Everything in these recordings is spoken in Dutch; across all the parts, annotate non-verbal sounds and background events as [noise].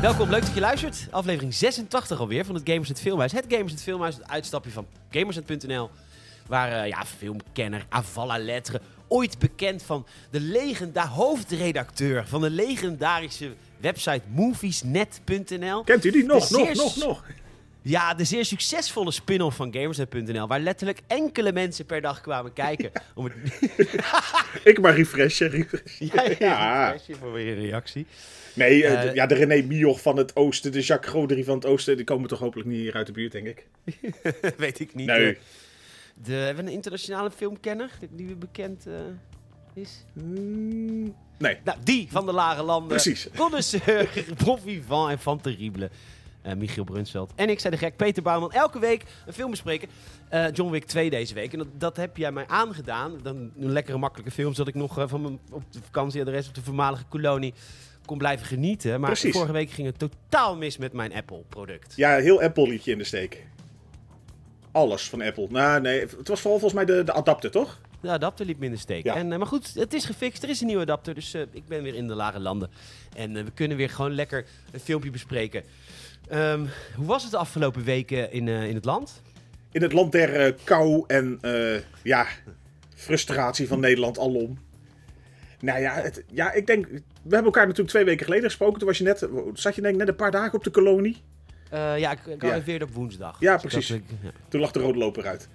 welkom. Leuk dat je luistert. Aflevering 86 alweer van het Gamers het Filmhuis. Het Gamers het Filmhuis, het uitstapje van gamersnet.nl. Waar eh, ja, filmkenner Avala Lettre, ooit bekend van de legenda hoofdredacteur van de legendarische website moviesnet.nl. Kent u die? Nog, De nog, zeer nog, nog. Ja, de zeer succesvolle spin-off van gamersnet.nl. Waar letterlijk enkele mensen per dag kwamen [laughs] kijken om het [laughs] Ik maar refreshen. refreshen. Ja, ja. Ja. Refresh je voor weer een reactie. [laughs] Nee, eh, Eh, d- ja, de René Mioch van het Oosten, de Jacques Godry van het Oosten, die komen toch hopelijk niet hier uit de buurt, denk ik. Weet ik niet. Nee. eh, De, hebben we een internationale filmkenner die we bekend eh, is? Mm, Nee. Nou, die van de lage landen. Precies. [laughs] Connoisseur, Bon Vivant en Van Terrible. eh, Michiel Brunsveld. En ik zei de gek, Peter Bouwman. Elke week een film bespreken. Eh, John Wick 2 deze week. En dat, dat heb jij mij aangedaan. Dan een lekkere, makkelijke film. Zodat ik nog eh, van mijn op de vakantieadres op de voormalige kolonie kon blijven genieten. Maar Precies. vorige week ging het totaal mis met mijn Apple-product. Ja, heel Apple liet je in de steek. Alles van Apple. Nou, nee, het was vooral volgens mij de, de adapter, toch? De adapter liep minder steek. Ja. En, eh, maar goed, het is gefixt. Er is een nieuwe adapter. Dus eh, ik ben weer in de lage landen. En eh, we kunnen weer gewoon lekker een filmpje bespreken. Ehm, hoe was het de afgelopen weken in, eh, in het land? In het land der eh, kou en eh, ja, frustratie van Nederland alom. Nou ja, het, ja, ik denk, we hebben elkaar natuurlijk twee weken geleden gesproken. Toen was je net, zat je denk ik net een paar dagen op de kolonie. Eh, ja, ik, ik Ja. arriveerde op woensdag. Ja, Dus ik precies. dacht, ik- ja. Toen lag de rode loper uit.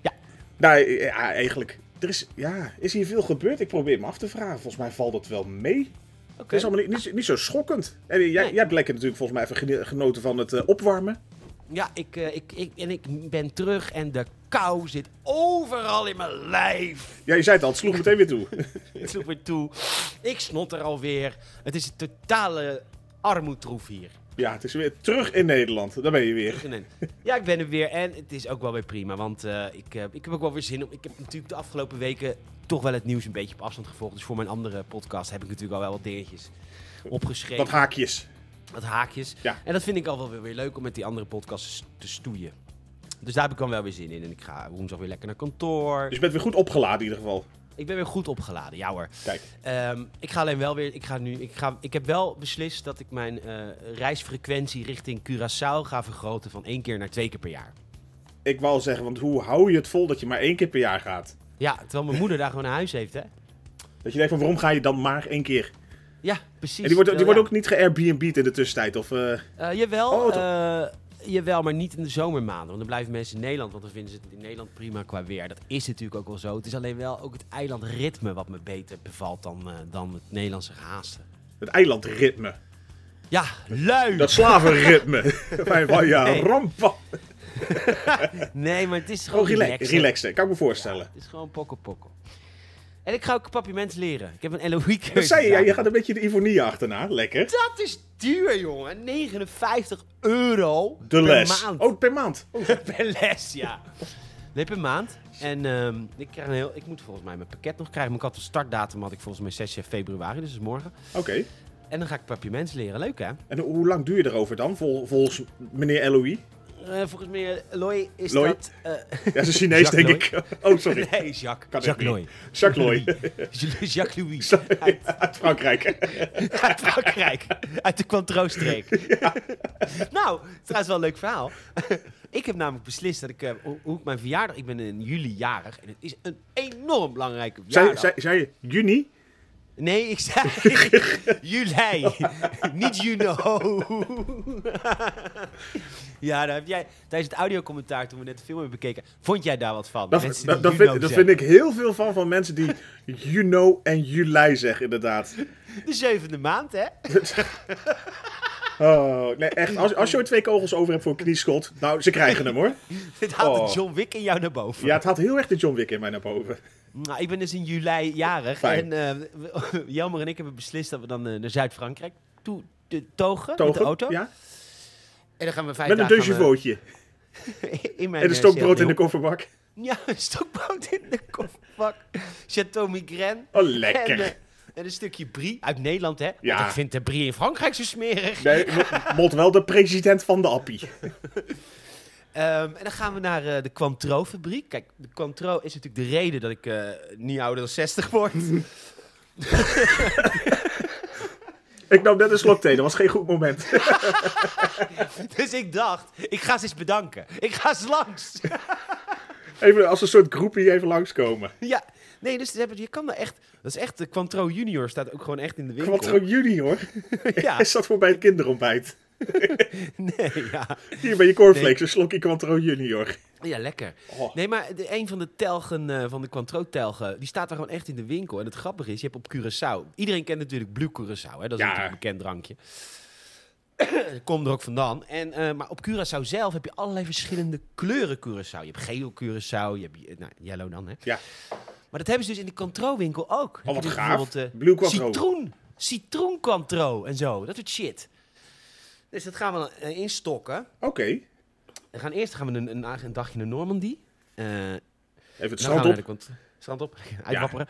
Ja. Nou, ja, eigenlijk. Er is, ja, is hier veel gebeurd? Ik probeer me af te vragen. Volgens mij valt dat wel mee. Het Oké. is allemaal niet, niet, niet zo schokkend. En eh, jij, Nee. jij hebt lekker natuurlijk volgens mij even geni- genoten van het eh, opwarmen. Ja, ik, eh, ik, ik, en ik ben terug en de kou zit overal in mijn [laughs] lijf. Ja, je zei het al, het sloeg meteen weer toe. [laughs] Het sloeg weer toe. Ik snot er alweer. Het is een totale armoedroef hier. ja, het is weer terug in Nederland. Daar ben je weer. En- Ja, ik ben er weer en het is ook wel weer prima. Want eh, ik, eh, ik heb ook wel weer zin om. Ik heb natuurlijk de afgelopen weken toch wel het nieuws een beetje op afstand gevolgd. Dus voor mijn andere podcast heb ik natuurlijk al wel wat dingetjes opgeschreven. Wat haakjes. wat haakjes. Ja. En dat vind ik al wel weer, weer leuk om met die andere podcasts te stoeien. Dus daar heb ik dan wel weer zin in. En ik ga woensdag weer lekker naar kantoor. Dus je bent weer goed opgeladen in ieder geval. Ik ben weer goed opgeladen, ja hoor. Kijk. Ehm, ik ga alleen wel weer. Ik, ga nu, ik, ga, ik heb wel beslist dat ik mijn eh, reisfrequentie richting Curaçao ga vergroten van één keer naar twee keer per jaar. Ik wou al zeggen, want hoe hou je het vol dat je maar één keer per jaar gaat? Ja, terwijl mijn moeder daar gewoon een huis heeft, hè? Dat je denkt van, waarom ga je dan maar één keer? Ja, precies. En die wordt, die Terwijl, wordt ook niet ge-Airbnb'd in de tussentijd. Of, eh, ja, eh, jawel, Oh, toch? eh, jawel, maar niet in de zomermaanden. Want dan blijven mensen in Nederland, want dan vinden ze het in Nederland prima qua weer. Dat is natuurlijk ook wel zo. Het is alleen wel ook het eilandritme wat me beter bevalt dan, eh, dan het Nederlandse gehaasten. het eilandritme. Ja, lui! Dat [laughs] slavenritme. Mijn man, ja, Nee. rampa. Nee, maar het is gewoon Gewoon Oh, relax, relaxen. relaxen, kan ik me voorstellen. Het is gewoon pokkel pokkel. En ik ga ook papiermens leren. Ik heb een LOE cursus. Dat zei je, ja, je gaat een beetje de ironie achterna. Lekker. Dat is duur, jongen. 59 euro De les. per maand. Oh, per maand. Oh, [laughs] per les, ja. Nee, per maand. En ehm, ik, krijg een heel, ik moet volgens mij mijn pakket nog krijgen. Maar ik had de startdatum had ik volgens mij 6 februari, dus dat is morgen. Oké. En dan ga ik papiermens leren. Leuk, hè? En hoe lang duur je erover dan, vol- volgens meneer LOI? Eh, volgens mij, Loy is Loy? dat... eh, [laughs] Ja, ze is Chinees, Jacques denk ik. [laughs] Oh, sorry. nee, Jacques. Kan echt Jacques Loy. niet. Jacques Loy. [laughs] Jacques Louis. Sorry, [laughs] Uit Frankrijk. [laughs] Uit Frankrijk. Uit de Cointreau-streek. [laughs] Nou, trouwens wel een leuk verhaal. [laughs] ik heb namelijk beslist dat ik... eh, hoe- hoe ik mijn verjaardag... Ik ben in juli jarig. En het is een enorm belangrijke [laughs] Zei, verjaardag. zei, zei je juni? Nee, ik [laughs] zei juli. Niet you know. [laughs] ja, daar heb jij tijdens het audiocommentaar toen we net de film hebben bekeken. Vond jij daar wat van? Dat, Mensen die dat, dat you vind, know dat vind zeggen. ik heel veel van, van mensen die [laughs] Juno en Juli zeggen, inderdaad. De zevende maand, hè? [laughs] Oh, nee, echt. Als, als je er twee kogels over hebt voor een knieschot, nou, ze krijgen hem hoor. Dit haalt Oh. de John Wick in jou naar boven. Ja, het had heel erg de John Wick in mij naar boven. Nou, ik ben dus in juli jarig. Fijn. En eh, we- [laughs] Jelmer en ik hebben beslist dat we dan eh, naar Zuid-Frankrijk toe de, togen, Togen, met de auto. Ja, En dan gaan we vijf met een dagen gaan we- deusjevootje. [laughs] in mijn En een eh, stokbrood in de Sierra kofferbak. Ja, een stokbrood in de kofferbak. Chateau Migraine. Oh, En, eh, lekker. en een stukje brie uit Nederland, hè? Want Ja. ik vind de brie in Frankrijk zo smerig. Nee, Mot wel de president van de appie. Ehm, en dan gaan we naar eh, de Quantro-fabriek. Kijk, de Quantro is natuurlijk de reden dat ik [laughs] eh, niet ouder dan 60 word. Ik nam net een slok thee, dat was geen goed moment. Dus ik dacht, ik ga ze eens bedanken. Ik ga ze [laughs] langs. Even als een soort groepie even langskomen. ja, nee, dus ze hebben- je kan daar echt... Dat is echt, de Quantro Junior staat ook gewoon echt in de winkel. Quattro Junior [laughs] [laughs] Ja, is dat voor bij het kinderontbijt. nee, ja. Hier bij je cornflakes, een slokje Quattro Junior. Ja, lekker. Oh. Nee, maar de, een van de telgen eh, van de Quantro-telgen, die staat daar gewoon echt in de winkel. En het grappige is, je hebt op Curaçao... Iedereen kent natuurlijk Blue Curaçao, hè? dat is Ja. natuurlijk een bekend drankje. [coughs] Kom er ook vandaan. En, eh, maar op Curaçao zelf heb je allerlei verschillende kleuren Curaçao. Je hebt geel Curaçao, je hebt eh, nou, yellow dan, hè? Ja. Oh, Maar dat hebben ze dus in de Quantro-winkel ook. Heb je wat dus gaaf. bijvoorbeeld, eh, Blue Quantro. Citroen. Citroen Quantro en zo. Dat soort shit. Dus dat gaan we dan eh, instokken. Oké, We gaan eerst gaan we een, een, een dagje naar Normandie. Eh, even het dan gaan we strand op. naar de kant- strand op. [laughs] Uitwapperen.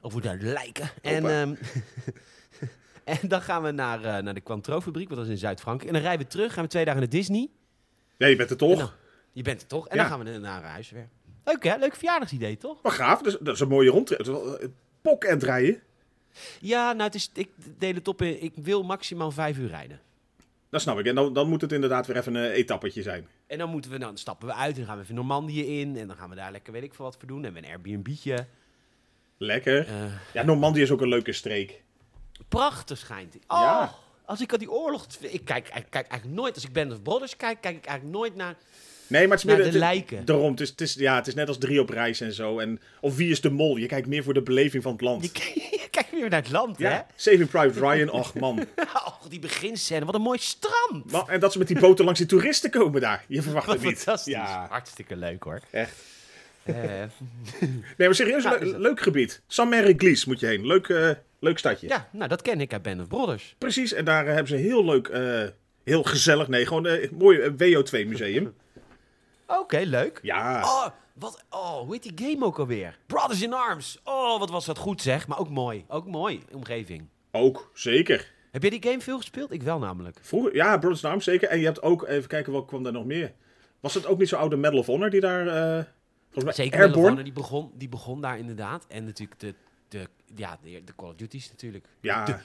Of hoe daar lijken. En, Hoppa. ehm, [laughs] en dan gaan we naar, eh, naar de Quantro-fabriek, want dat is in Zuid-Frankrijk. En dan rijden we terug, gaan we twee dagen naar Disney. Nee, je bent er En dan- toch? je bent er toch? En Ja. dan gaan we naar huis weer. Leuk hè? Leuk verjaardagsidee, toch? Maar gaaf, dus, dat is een mooie rondtrip. Pok en rijden, Ja, nou, het is, ik deel het op in, ik wil maximaal vijf uur rijden. dat snap ik. En dan, dan moet het inderdaad weer even een etappetje zijn. En dan, moeten we, dan stappen we uit en dan gaan we even Normandië in. En dan gaan we daar lekker, weet ik veel wat voor doen. En we een Airbnb'tje. Lekker. Eh, Ja, Normandië is ook een leuke streek. prachtig schijnt. Oh, Ja. Als ik aan die oorlog... Ik kijk, ik kijk eigenlijk nooit... Als ik Band of Brothers kijk, kijk ik eigenlijk nooit naar... Nee, maar het is Naar midden- de het is- lijken. Daarom, het is, het, is, ja, het is net als drie op reis en zo. En, of wie is de mol? Je kijkt meer voor de beleving van het land. Je, k- [laughs] je kijkt weer naar het land, Ja, Saving Private Ryan, [laughs] och man. hè? [laughs] Och, die beginscène. Wat een mooi strand. Wa- En dat ze met die boten langs die toeristen komen daar. Je [laughs] verwacht Wat het niet. fantastisch. Ja, Hartstikke leuk, hoor. echt. Eh, Nee, maar serieus, Ja, le- is het. leuk gebied. San Meriglis moet je heen. Leuk, eh, leuk stadje. ja, nou, dat ken ik uit Band of Brothers. Precies, en daar eh, hebben ze een heel leuk, eh, heel gezellig, nee, gewoon een mooi eh, [laughs] WO2-museum. Oké, leuk. Ja, Oh, wat... Oh, hoe heet die game ook alweer? Brothers in Arms. Oh, wat was dat goed, zeg. Maar ook mooi. Ook mooi, omgeving. ook, zeker. Heb jij die game veel gespeeld? Ik wel, namelijk. Vroeger, ja, Brothers in Arms zeker. En je hebt ook, even kijken, wat kwam daar nog meer? Was het ook niet zo'n oude Medal of Honor die daar, eh, volgens mij, Zeker Medal of Airborne? Honor, die begon, die begon daar inderdaad. En natuurlijk de, de, ja, de, de Call of Duties natuurlijk. Ja. De-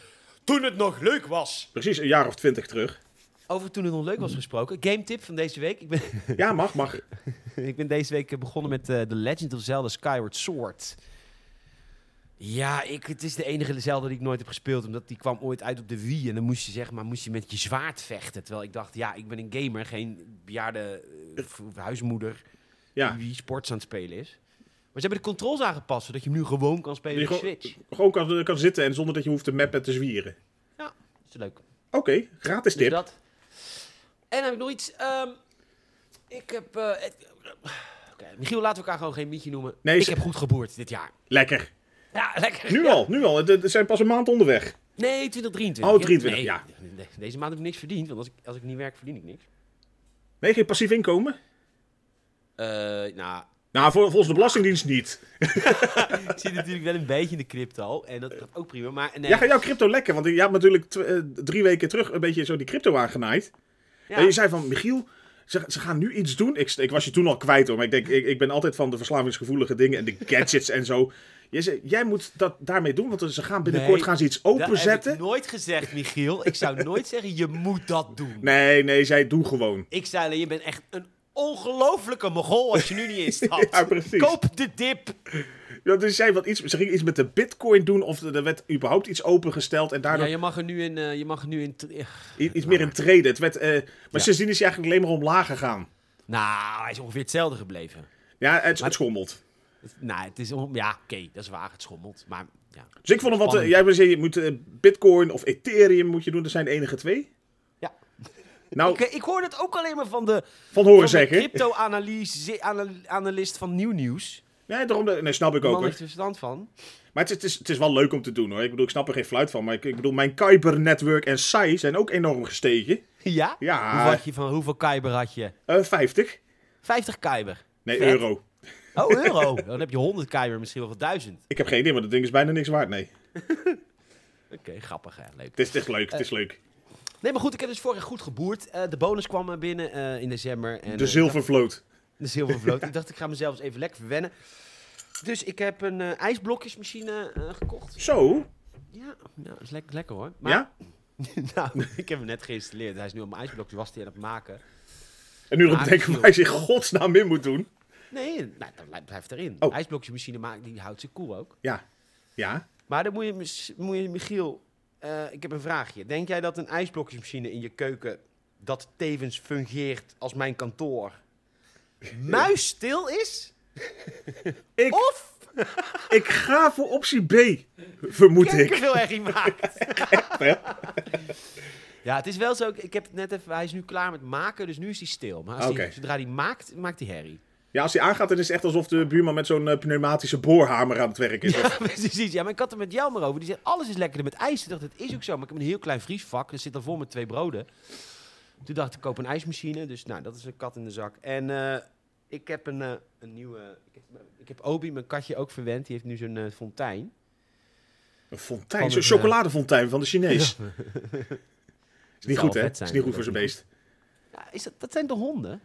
toen het nog leuk was. Precies, een jaar of twintig terug. Over toen het nog leuk was gesproken. Game tip van deze week. Ik ben, [laughs] Ja, mag, mag. ik ben deze week begonnen met eh The Legend of Zelda Skyward Sword. Ja, ik, het is de enige Zelda die ik nooit heb gespeeld. Omdat die kwam ooit uit op de Wii. En dan moest je, zeg maar, moest je met je zwaard vechten. Terwijl ik dacht, ja, ik ben een gamer. Geen bejaarde eh, v- huismoeder Ja, die sports aan het spelen is. Maar ze hebben de controls aangepast. Zodat je hem nu gewoon kan spelen Die op de gewoon- Switch. gewoon kan, kan zitten en zonder dat je hoeft te mappen te zwieren. Dat is leuk. Oké, gratis Dus tip. dat. En dan heb ik nog iets. ehm, ik heb. eh, het- Oké, Michiel, laten we elkaar gewoon geen mietje noemen. Nee, ik ze- heb goed geboerd dit jaar. Lekker. Ja, lekker. Nu al, nu al. Het- Het zijn pas een maand onderweg. Nee, 2023. Oh, 23, Nee, ja. de- Deze maand heb ik niks verdiend, want als ik, als ik niet werk, verdien ik niks. Nee, geen passief inkomen? Eh, nou, Nou, vol- volgens de Belastingdienst niet. ik zit natuurlijk wel een beetje in de crypto en dat gaat ook prima. Maar nee, Ja, ga jouw crypto lekker, want je had natuurlijk tw- eh, drie weken terug een beetje zo die crypto aangenaaid. ja. En je zei van, Michiel, ze, ze gaan nu iets doen. Ik, ik was je toen al kwijt hoor, maar ik denk, ik, ik ben altijd van de verslavingsgevoelige dingen [laughs] en de gadgets en zo. Je zei, jij moet dat daarmee doen, want ze gaan binnenkort Nee, gaan ze iets dat heb openzetten. ik nooit gezegd, Michiel. Ik zou nooit zeggen, je moet dat doen. Nee, nee, zij doe gewoon. Ik zei alleen, je bent echt een ongelofelijke mogol als je nu niet [laughs] instapt. Ja, precies. Koop de dip. Ja, dus zij wat iets, ze gingen iets met de bitcoin doen of er werd überhaupt iets opengesteld en Ja, daardoor je mag er nu in. eh, je mag er nu in t- eh, i- iets meer in treden. Het werd, eh, maar Ja. sindsdien is hij eigenlijk alleen maar omlaag gegaan. nou, hij is ongeveer hetzelfde gebleven. Ja, het, het schommelt. Het- nou, het is. on- Ja, oké, dat is waar. Het schommelt. Maar ja. Dus ik vond hem wat. eh, Spannend. jij zei, je moet eh, Bitcoin of Ethereum moet je doen. Dat zijn de enige twee. Ja. Nou, Ik, ik hoor het ook alleen maar van de, van van horen de zeggen. crypto-analyse- anal- analist van Nieuw Nieuws. Nee, daarom, nee, snap ik Die ook. man Hoor. heeft er verstand van. [laughs] Maar het is, het, is, het is wel leuk om te doen hoor. Ik bedoel, ik snap er geen fluit van. Maar ik, ik bedoel, mijn Kuiper Network en SAI zijn ook enorm gestegen. Ja? Ja. Hoeveel, had je van, hoeveel kuiber had je? Eh 50? 50 kuiber. Nee, Vet. euro. Oh, [laughs] euro. Dan heb je 100 kuiber, misschien wel 1000. Ik heb geen idee, maar dat ding is bijna niks waard. Nee. Oké, grappig hè. Leuk. Het is, het is leuk, het is leuk. Eh, Nee, maar goed, ik heb dus vorig jaar goed geboerd. Eh, de bonus kwam eh, binnen eh, in december. En, De eh, zilvervloot. De [laughs] zilvervloot. Ik dacht, ik ga mezelf eens even lekker verwennen. Dus ik heb een eh, ijsblokjesmachine eh, gekocht. Zo. Ja, ja is lek- lekker hoor. Maar- Ja? [laughs] nou, ik heb hem net geïnstalleerd. Hij is nu op mijn ijsblokje, was hij aan het maken. En nu Ah, erop denken chill. waar hij zich in godsnaam in moet doen. Nee, nou, dat blijft- blijft erin. Oh. Ijsblokje machine maken, die houdt zich cool ook. Ja. Ja. Maar dan moet je, mis- moet je Michiel, eh, ik heb een vraagje. Denk jij dat een ijsblokjesmachine in je keuken, dat tevens fungeert als mijn [laughs] kantoor, muisstil is? Ik- Of Ik ga voor optie B, vermoed ik. veel herrie maakt? ja, het is wel zo. ik- Ik heb het net even, hij is nu klaar met maken, dus nu is hij stil. Maar als hij- Oké. zodra hij maakt, maakt hij herrie. [laughs] Ja, als hij aangaat, dan is het echt alsof de buurman met zo'n eh, pneumatische boorhamer aan het werk is. Ja, precies. Ja, maar ik had het met jou maar over. Die zei, alles is lekkerder met ijs. Ik dacht, het is ook zo. Maar ik heb een heel klein vriesvak. Er zit er vol met twee broden. Toen dacht ik, ik koop een ijsmachine. Dus nou, dat is een kat in de zak. En eh, ik heb een, eh, een nieuwe... Ik heb, ik heb Obi, mijn katje, ook verwend. Die heeft nu zo'n eh, fontein. Een Van fontein, zo'n het, chocoladefontein van de Chinees. Is zou wel niet goed, hè? vet Is zijn, niet goed voor dat ook zijn beest. Ja, is dat, dat zijn de honden?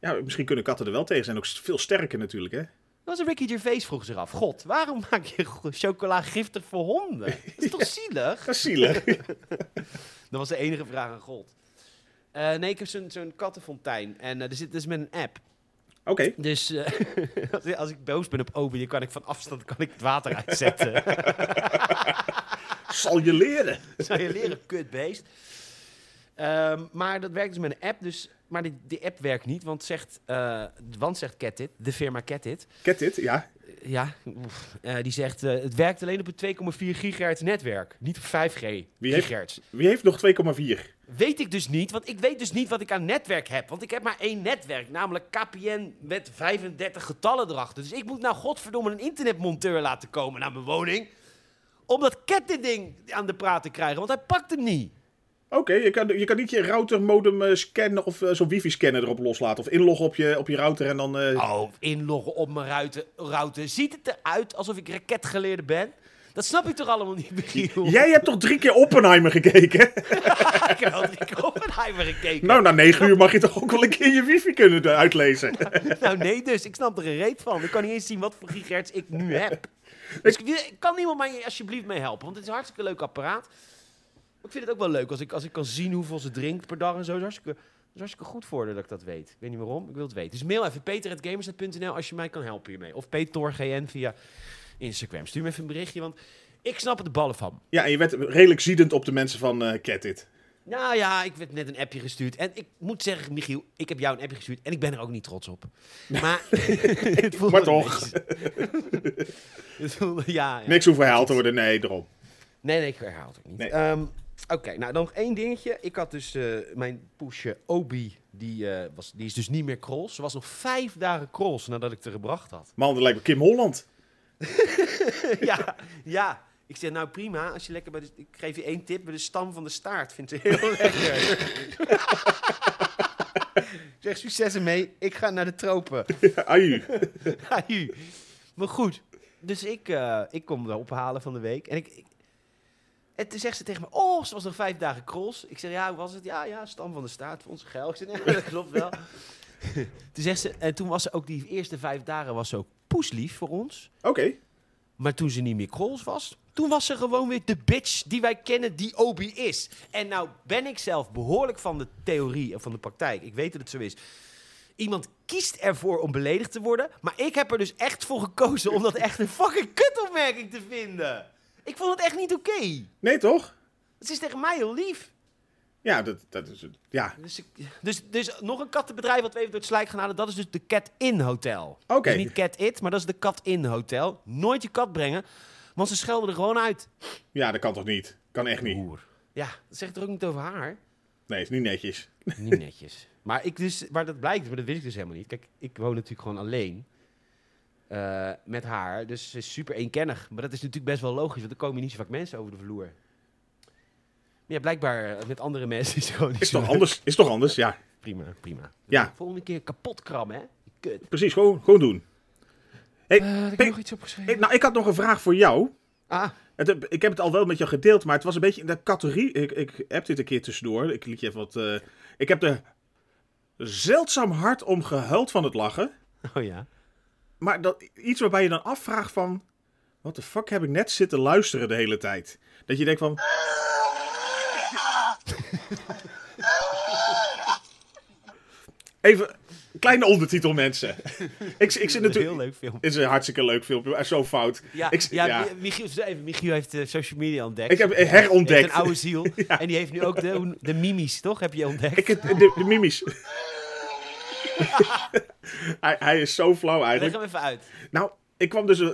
Ja, misschien kunnen katten er wel tegen zijn. Ook veel sterker natuurlijk, hè? Dat was Ricky Gervais vroeg zich af. God, waarom [laughs] maak je go- chocola giftig voor honden? Dat is toch zielig? Dat is zielig. [laughs] Dat was de enige vraag aan God. Eh, nee, ik heb zo'n zo'n kattenfontein. En eh, er zit dus met een app. Oké. Dus eh, [laughs] als, ik- als ik boos ben op Obi, dan kan ik van afstand kan ik het water uitzetten. [laughs] Zal je leren. Zou je leren, kutbeest. Ehm, maar dat werkt dus met een app. Dus, maar die, die app werkt niet, want zegt, eh want zegt Catit, de firma Catit, Ket dit? Ja. eh, ja, oef, eh, die zegt eh, het werkt alleen op een 2,4 gigahertz netwerk, niet op 5G Wie heeft- gigahertz. Wie heeft nog 2,4? Weet ik dus niet, want ik weet dus niet wat ik aan netwerk heb. Want ik heb maar één netwerk, namelijk KPN met 35 getallen erachter. Dus ik moet nou godverdomme een internetmonteur laten komen naar mijn woning. Om dat kettending aan de praat te krijgen, want hij pakt hem niet. Oké, je, kan, je kan niet je router modem eh, scannen of eh, zo'n wifi scanner erop loslaten. Of inloggen op je, op je router en dan... eh, Oh, inloggen op mijn router, router. Ziet het eruit alsof ik raketgeleerde ben? Dat snap ik toch allemaal niet, Michiel? Jij hebt toch drie keer Oppenheimer gekeken? [laughs] ik heb al drie Oppenheimer gekeken. Nou, na negen uur mag je toch ook wel een keer je wifi kunnen eh, uitlezen. [laughs] Nou nee dus, ik snap er een reet van. Ik kan niet eens zien wat voor gigahertz ik nu heb. Dus ik- ik- kan niemand mij hier alsjeblieft mee helpen? Want het is een hartstikke leuk apparaat. Maar ik vind het ook wel leuk als ik, als ik kan zien hoeveel ze drinkt per dag en zo. Dat is hartstikke, dat is hartstikke goed voor haar dat ik dat weet. Ik weet niet waarom, ik wil het weten. Dus mail even peter.gamersnet.nl als je mij kan helpen hiermee. Of petorgn via Instagram. Stuur me even een berichtje, want ik snap er de ballen van. Ja, en je werd redelijk ziedend op de mensen van eh Cat It. Nou ja, ik werd net een appje gestuurd. En ik moet zeggen, Michiel, ik heb jou een appje gestuurd. En ik ben er ook niet trots op. Maar, [laughs] het voelde Maar een toch. beetje- [laughs] het voelde, ja, ja. Niks hoeven herhaald te worden, nee, daarom. Nee, nee, ik herhaal het ook niet. Nee. Ehm, Oké, nou dan nog één dingetje. Ik had dus eh, mijn poesje Obi, die, eh, was, die is dus niet meer cross. Ze was nog vijf dagen cross nadat ik er gebracht had. Man, dat lijkt me Kim Holland. [laughs] ja, ja. Ik zeg, nou prima, als je lekker bij de, ik geef je één tip, bij de stam van de staart vindt ze [laughs] heel lekker. Ik zeg, succes ermee, ik ga naar de [laughs] tropen. Aju. Aju. maar goed, dus ik, eh, ik kom haar ophalen van de week. En, ik, ik- en toen zegt ze tegen me, oh, ze was nog vijf dagen cross. Ik zeg, ja, hoe was het? Ja, ja, stam van de staart, vond ze geil. Ik zeg, ja, [laughs] dat klopt wel. toen zegt ze, en toen was ze ook die eerste vijf dagen was ze ook poeslief voor ons. Oké. Maar toen ze niet meer Krols was, toen was ze gewoon weer de bitch die wij kennen die Obi is. En nou ben ik zelf behoorlijk van de theorie en van de praktijk. Ik weet dat het zo is. Iemand kiest ervoor om beledigd te worden, maar ik heb er dus echt voor gekozen om dat echt een fucking kutopmerking te vinden. Ik vond het echt niet oké. Nee, toch? Ze is tegen mij heel lief. Ja, dat, dat is het. Ja. Dus, ik- dus, dus nog een kattenbedrijf wat we even door het slijk gaan halen. Dat is dus de Cat In Hotel. Oké. Dus niet Cat It, maar dat is de Cat In Hotel. Nooit je kat brengen, want ze schelden er gewoon uit. ja, dat kan toch niet? Kan echt niet. Hoer. Ja, dat zegt er ook niet over [laughs] haar. Nee, is niet netjes. Niet netjes. Maar, ik dus, maar dat blijkt, maar dat wist ik dus helemaal niet. Kijk, ik woon natuurlijk gewoon alleen eh, met haar. Dus ze is super eenkennig. Maar dat is natuurlijk best wel logisch, want er komen niet zo vaak mensen over de vloer. Maar ja, blijkbaar eh, met andere mensen is het gewoon niet Is zo toch leuk. anders? Is toch anders? Ja. Prima, prima. Ja. Volgende keer kapot krammen, hè? Die Kut. Precies, gewoon, gewoon doen. Eh, ik Pik- heb nog iets opgeschreven. Ik, nou, ik had nog een vraag voor jou. ah, [laughs] Het, ik heb het al wel met jou gedeeld, maar het was een beetje in de categorie. Ik, ik heb dit een keer tussendoor. Ik liet je even wat. eh, ik heb er zeldzaam hard om gehuild van het lachen. oh ja. Maar dat, iets waarbij je dan afvraagt van... Wat de fuck heb ik net zitten luisteren de hele tijd? Dat je denkt [laughs] van. Even kleine ondertitel, [laughs] mensen. ik, ik zit Een heel natuurlijk. leuk film. Het is een hartstikke leuk filmpje, maar zo fout. Ja, ik, ja, Mi- Michiel, zo even, Michiel heeft eh, social media ontdekt. ik heb Hij heeft herontdekt. een oude [laughs] ziel. En die heeft nu ook de, hoe- de mimies, toch? Heb je ontdekt? Ik, heb- de, de [laughs] mimies. hij, hij is zo flauw Leg eigenlijk. hem even [laughs] uit. Nou, ik kwam dus. eh,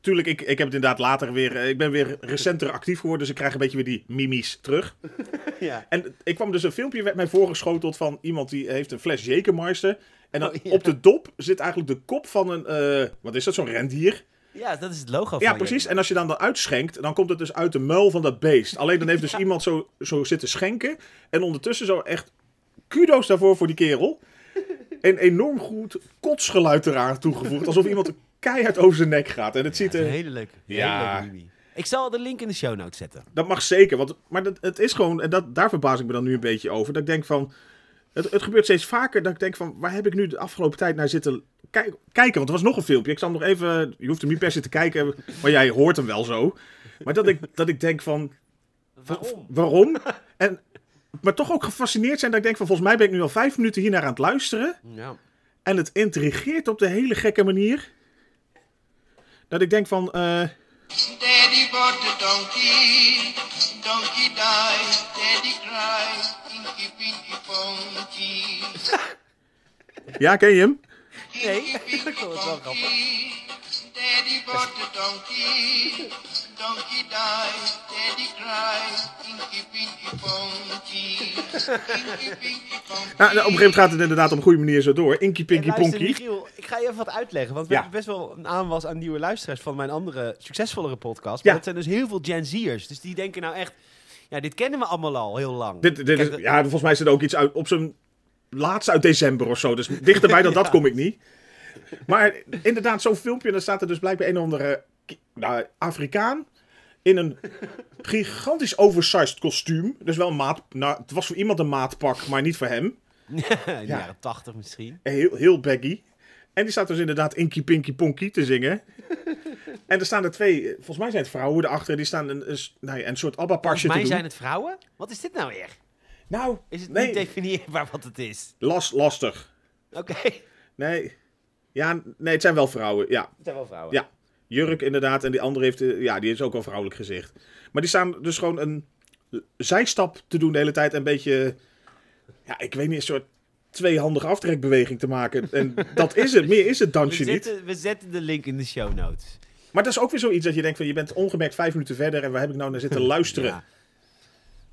Tuurlijk, ik, ik heb het inderdaad later weer. eh, Ik ben weer recenter actief geworden, dus ik krijg een beetje weer die mimies terug. Ja. En ik kwam dus een filmpje werd mij voorgeschoteld van iemand die heeft een fles Jägermeister. En dan Oh, ja. op de dop zit eigenlijk de kop van een. eh, wat is dat, zo'n rendier? ja, dat is het logo van Ja, je. precies. En als je dan dat uitschenkt, dan komt het dus uit de muil van dat beest. Alleen dan heeft [laughs] dus iemand zo, zo zitten schenken. En ondertussen zo echt kudo's daarvoor voor die kerel. En enorm goed kotsgeluid eraan toegevoegd. Alsof iemand keihard over zijn nek gaat. En het ziet Een er... hele leuke, Ja. ja. hele leuke mimi. Ik zal de link in de show notes zetten. Dat mag zeker. Want, maar dat, het is gewoon... En dat, daar verbaas ik me dan nu een beetje over. Dat ik denk van... Het, het gebeurt steeds vaker dat ik denk van... Waar heb ik nu de afgelopen tijd naar zitten kijk- kijken? Want er was nog een filmpje. Ik zal hem nog even... Je hoeft hem niet per se te kijken. Maar jij hoort hem wel zo. Maar dat ik, dat ik denk van... Waarom? waarom. En, maar toch ook gefascineerd zijn dat ik denk van volgens mij ben ik nu al vijf minuten hiernaar aan het luisteren. Ja. En het intrigeert op de hele gekke manier. Dat ik denk van, eh, Daddy bought the donkey, donkey died, daddy cried, inky pinky funky. ja ken je hem? [laughs] [laughs] Nee, ik vond het wel grappig. Daddy bought the donkey, donkey died, daddy cried, inky pinky funky. Inky pinky funky. Nou, op een gegeven moment gaat het inderdaad op een goede manier zo door. Inky Pinky Luister, Ponky. Michiel, ik ga je even wat uitleggen. Want we Ja. hebben best wel een aanwas aan nieuwe luisteraars van mijn andere succesvollere podcast. Ja. Maar dat zijn dus heel veel Gen Z'ers. Dus die denken nou echt, ja, dit kennen we allemaal al heel lang. Dit, [laughs] dit is, Kijk, ja, volgens mij is het ook iets uit, op zijn laatste uit december of zo. Dus [laughs] dichterbij dan dat kom ik niet. Maar inderdaad, zo'n filmpje. En dan staat er dus blijkbaar een of andere ki- nou, Afrikaan. In een gigantisch oversized kostuum. Dus wel een maat. Nou, het was voor iemand een maatpak, maar niet voor hem. in de jaren tachtig misschien. Heel, heel baggy. En die staat dus inderdaad Inky Pinky Ponky te zingen. En er staan er twee, eh, volgens mij zijn het vrouwen erachter. Die staan een, een, s- nou ja, een soort Volgens ABBA-parsje te mij doen. zijn het vrouwen. Wat is dit nou weer? Nou, Is het nee, niet definieerbaar wat het is? las, lastig. Oké, [laughs] Nee. Ja, nee, het zijn wel vrouwen. Ja, het zijn wel vrouwen. Ja. Jurk inderdaad. En die andere heeft, eh, ja, die is ook wel vrouwelijk gezicht. Maar die staan dus gewoon een zijstap te doen de hele tijd. en Een beetje, ja, ik weet niet, een soort tweehandige aftrekbeweging te maken. [laughs] En dat is het. Meer is het We dansje niet. zetten, we zetten de link in de show notes. Maar dat is ook weer zoiets dat je denkt van, je bent ongemerkt vijf minuten verder. En waar heb ik nou naar zitten luisteren? [laughs]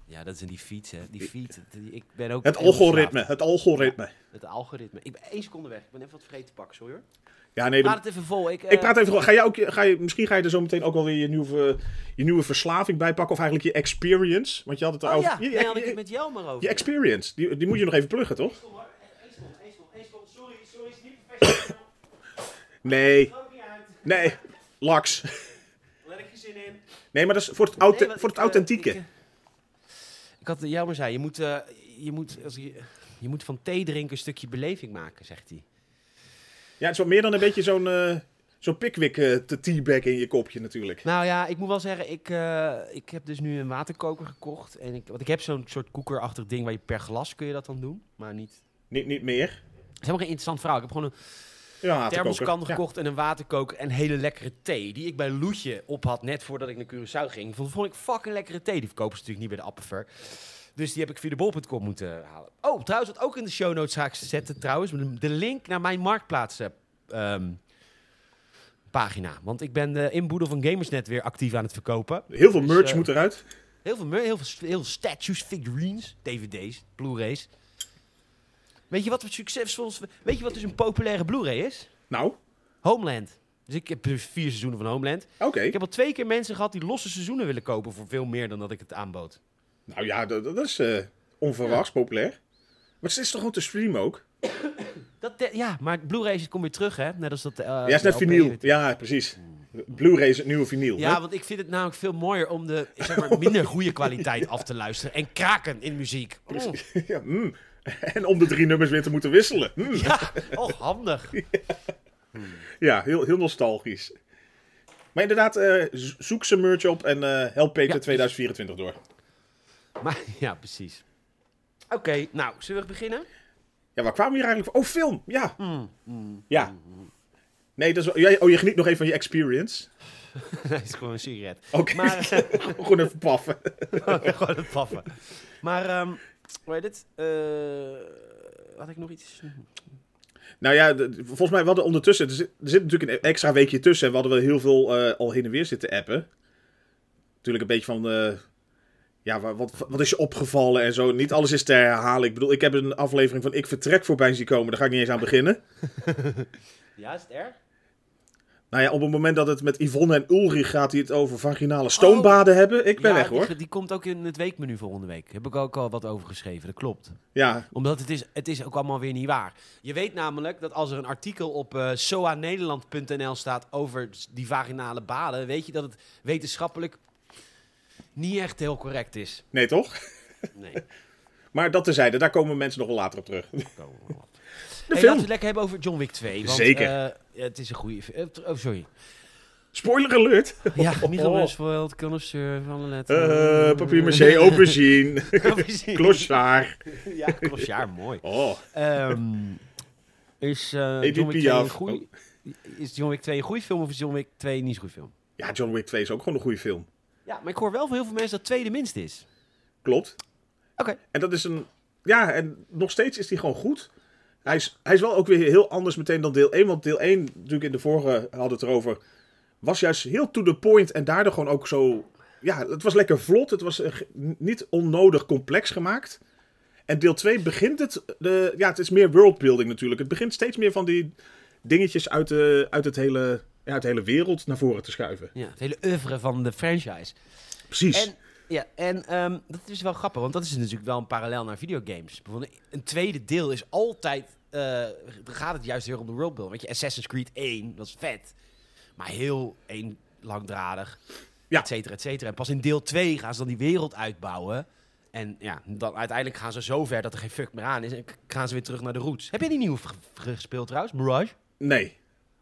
Ja. ja, dat is in die fiets, hè. Die fiets. die- Ik ben ook Het heel algoritme, verslaafd. het algoritme. Het algoritme. Ik ben één seconde weg. Ik ben even wat vergeten te pakken, sorry hoor. Ja, nee, Praat dat- het even vol. Ik, eh, ik praat even gewoon. Ga je ook, ga je, misschien ga je er zo meteen ook wel weer je nieuwe, je nieuwe verslaving bij pakken. Of eigenlijk je experience. Want je had het Oh erover. ja, je- je- daar had ik je- het met jou maar over. Je experience, die, die moet je nog even pluggen, toch? Eh, Sorry, sorry, is niet [coughs] professioneel. Nee, Ook niet uit. nee, laks. Laat ik geen zin in. Nee, maar dat is voor het, aut- Nee, want voor het ik, eh, authentieke. Ik, eh, ik had eh, jou maar zei, je moet, eh, je, moet, als je, je moet van thee drinken een stukje beleving maken, zegt hij. ja, het is wat meer dan een beetje zo'n eh zo'n pickwick eh, te teabag in je kopje natuurlijk. Nou ja, ik moet wel zeggen, ik, eh, ik heb dus nu een waterkoker gekocht. En ik, want ik heb zo'n soort koekerachtig ding waar je per glas kun je dat dan doen. Maar niet... Het Niet, niet meer. is helemaal geen interessant verhaal. Ik heb gewoon een Ja, te thermoskan koken. Ja. gekocht en een waterkoker en hele lekkere thee. Die ik bij Loetje op had, net voordat ik naar Curaçao ging. Vond, vond ik fucking lekkere thee. Die verkopen ze natuurlijk niet bij de Appenver. Dus die heb ik via de bol.com moeten halen. Oh, trouwens, wat ook in de show notes ga ik zetten trouwens. De link naar mijn marktplaats eh, ehm, pagina. Want ik ben de inboedel van Gamersnet weer actief aan het verkopen. Heel veel merch Dus, eh, moet eruit. Heel veel, mer- heel veel, st- heel veel statues, figurines, dvd's, blu-rays. Weet je wat het succesvol is? Weet je wat dus een populaire blu-ray is? Nou, oké. Homeland. Dus ik heb dus vier seizoenen van Homeland. Ik heb al twee keer mensen gehad die losse seizoenen willen kopen voor veel meer dan dat ik het aanbood. Nou ja, dat, dat is eh, onverwachts populair. Maar het is toch gewoon te streamen ook? Dat de- ja, maar Blu-rays komt weer terug, hè? Net als dat. eh, ja, is net de vinyl. LP. Ja, precies. Blu-ray is het nieuwe vinyl. Ja, hè? want ik vind het namelijk veel mooier om de zeg maar, minder goede kwaliteit af te luisteren en kraken in muziek. Mm. [laughs] ja, mm. En om de drie nummers weer te moeten wisselen. Mm. Ja, oh, handig. Ja, heel, heel nostalgisch. Maar inderdaad, eh, z- zoek zijn merch op en eh, help Peter Ja. 2024 door. Maar, ja, precies. Oké, nou, zullen we beginnen? Ja, waar kwamen we hier eigenlijk voor? Oh, film! Ja. Mm, Ja. Nee, dat is wel- jij- oh, je geniet nog even van je experience. [laughs] Nee, het is gewoon een sigaret. Oké, Maar, [laughs] eh, [laughs] gewoon even paffen. gewoon het paffen. Maar, ehm hoe heet het? Eh, had ik nog iets? Nou ja, de- volgens mij, we hadden ondertussen... Er zit, er zit natuurlijk een extra weekje tussen. En we hadden wel heel veel eh, al heen en weer zitten appen. Natuurlijk een beetje van... eh, ja, wa- wat, wat is je opgevallen en zo. Niet alles is te herhalen. Ik bedoel, ik heb een aflevering van Ik Vertrek voorbij zien komen. Daar ga ik niet eens aan beginnen. Ja, is het erg? Nou ja, op het moment dat het met Yvonne en Ulrich gaat... die het over vaginale stoombaden hebben. Ik ben ja, weg, hoor. Die, die komt ook in het weekmenu volgende week. Heb ik ook al wat over geschreven, dat klopt. Ja, Omdat het is, het is ook allemaal weer niet waar. Je weet namelijk dat als er een artikel op eh soanederland.nl staat over s- die vaginale baden, weet je dat het wetenschappelijk niet echt heel correct is. nee toch? Nee, Maar dat tezijde, daar komen mensen nog wel later op terug. De komen we wel op. Hey, laten film. we het lekker hebben over John Wick 2. Want, Zeker. eh, het is een goede... fi- eh, t- oh, sorry. Spoiler alert. Ja, [laughs] Michael Westworld, connoisseur van de letter. Eh [laughs] papier maché, [laughs] aubergine, klossaar. Ja, klosjaar, mooi. Oh, Ehm, is, eh, Edith John Wick 2 Piaf. een goeie, is John Wick 2 een goede film of is John Wick 2 niet zo'n goede film? ja, John Wick 2 is ook gewoon een goede film. Ja, maar ik hoor wel van heel veel mensen dat 2 de minste is. Klopt. Oké. En dat is een... Ja, en nog steeds is die gewoon goed. Hij is, hij is wel ook weer heel anders meteen dan deel 1. Want deel 1, natuurlijk in de vorige hadden we het erover... was juist heel to the point en daardoor gewoon ook zo... Ja, het was lekker vlot. Het was eh, ge- niet onnodig complex gemaakt. En deel 2 begint het... De, ja, het is meer worldbuilding natuurlijk. Het begint steeds meer van die dingetjes uit, de, uit, het hele, ja, uit de hele wereld naar voren te schuiven. Ja, het hele oeuvre van de franchise. Precies. En, ja, en ehm, dat is wel grappig, want dat is natuurlijk wel een parallel naar videogames. Bijvoorbeeld een tweede deel is altijd... eh, dan gaat het juist heel erg om de worldbuilding. Weet je, Assassin's Creed 1, dat is vet. Maar heel één langdradig, Ja. et cetera, et cetera. En pas in deel 2 gaan ze dan die wereld uitbouwen. En ja, dan uiteindelijk gaan ze zo ver dat er geen fuck meer aan is. En k- gaan ze weer terug naar de roots. Heb jij die nieuwe g- gespeeld trouwens, Mirage? Nee.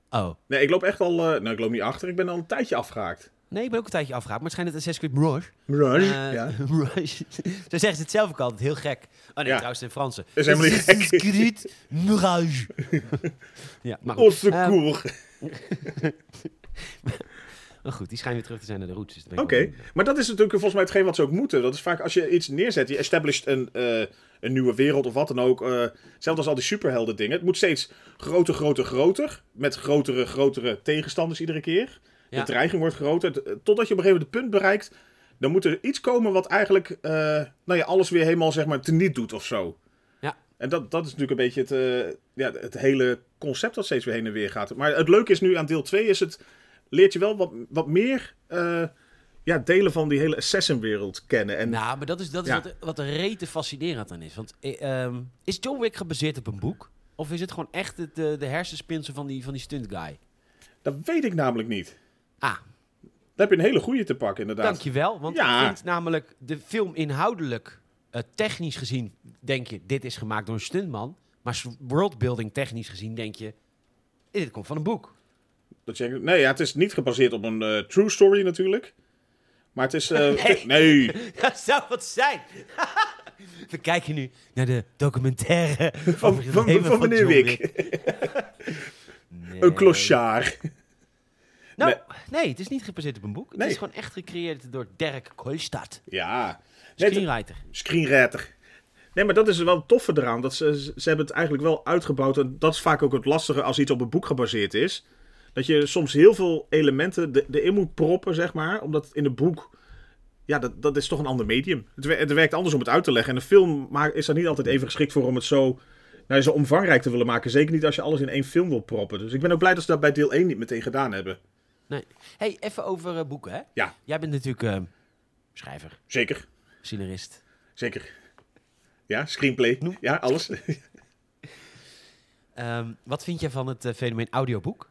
Oh. Nee, ik loop echt al... eh, nou, ik loop niet achter. Ik ben al een tijdje afgehaakt. Nee, ik ben ook een tijdje afgehaakt, maar het schijnt dat Assassin's Creed Mirage... Mirage, Eh, [laughs] Mirage. Zo zeggen ze het zelf ook altijd, heel gek. Oh nee, Ja. trouwens in Frans. Dat is helemaal niet gek. Creed [laughs] Mirage. ja, maar goed. Onze Ehm, koer. Eh, maar goed, die schijnen weer terug te zijn naar de roots. dus dat [laughs] Oké, ben ik wel benieuwd. maar dat is natuurlijk volgens mij hetgeen wat ze ook moeten. Dat is vaak als je iets neerzet, je established een, eh, een nieuwe wereld of wat dan ook. eh zelfs als al die superhelden dingen. Het moet steeds groter, groter, groter. Met grotere, grotere tegenstanders iedere keer. Ja. De dreiging wordt groter. t- Totdat je op een gegeven moment het punt bereikt. Dan moet er iets komen wat eigenlijk eh, nou ja, alles weer helemaal zeg maar teniet doet of zo. Ja. En dat, dat is natuurlijk een beetje het, eh, ja, het hele concept dat steeds weer heen en weer gaat. Maar het leuke is nu aan deel 2 is het leert je wel wat, wat meer eh, ja, delen van die hele assassin-wereld kennen. En Nou, maar dat is, dat is Ja. wat, wat de rete fascinerend aan is. Want eh, ehm, is John Wick gebaseerd op een boek? Of is het gewoon echt het, eh, de hersenspinsel van die, van die stunt guy? dat weet ik namelijk niet. Ah, Daar heb je een hele goeie te pakken, inderdaad. Dankjewel, want Ja. ik vind namelijk de film inhoudelijk, eh, technisch gezien, denk je, dit is gemaakt door een stuntman. Maar s- worldbuilding technisch gezien denk je, dit komt van een boek. [laughs] Dat je, nee, ja, het is niet gebaseerd op een eh, true story natuurlijk. Maar het is... eh, [laughs] Nee. nee. Dat zou wat zijn. [laughs] We kijken nu naar de documentaire over het [laughs] van- leven van meneer John Wick. [laughs] Nee. Een klosjaar. Nou, nee, het is niet gebaseerd op een boek. Het Nee. is gewoon echt gecreëerd door Dirk Kolstad, Ja. Nee, het- screenwriter. screenwriter. Nee, maar dat is wel het toffe eraan. Dat ze, ze hebben het eigenlijk wel uitgebouwd. En dat is vaak ook het lastige als iets op een boek gebaseerd is. Dat je soms heel veel elementen de- erin moet proppen, zeg maar. Omdat in een boek... Ja, dat, dat is toch een ander medium. Het, wer- het werkt anders om het uit te leggen. En een film ma- is daar niet altijd even geschikt voor om het zo, nou, zo omvangrijk te willen maken. Zeker niet als je alles in één film wil proppen. Dus ik ben ook blij dat ze dat bij deel 1 niet meteen gedaan hebben. Nee. hey, even over eh, boeken, hè? Ja, Jij bent natuurlijk eh, schrijver, zeker. scenarist. Zeker. Ja, screenplay. Noem- Ja, alles. Ehm, wat vind jij van het eh, fenomeen audioboek?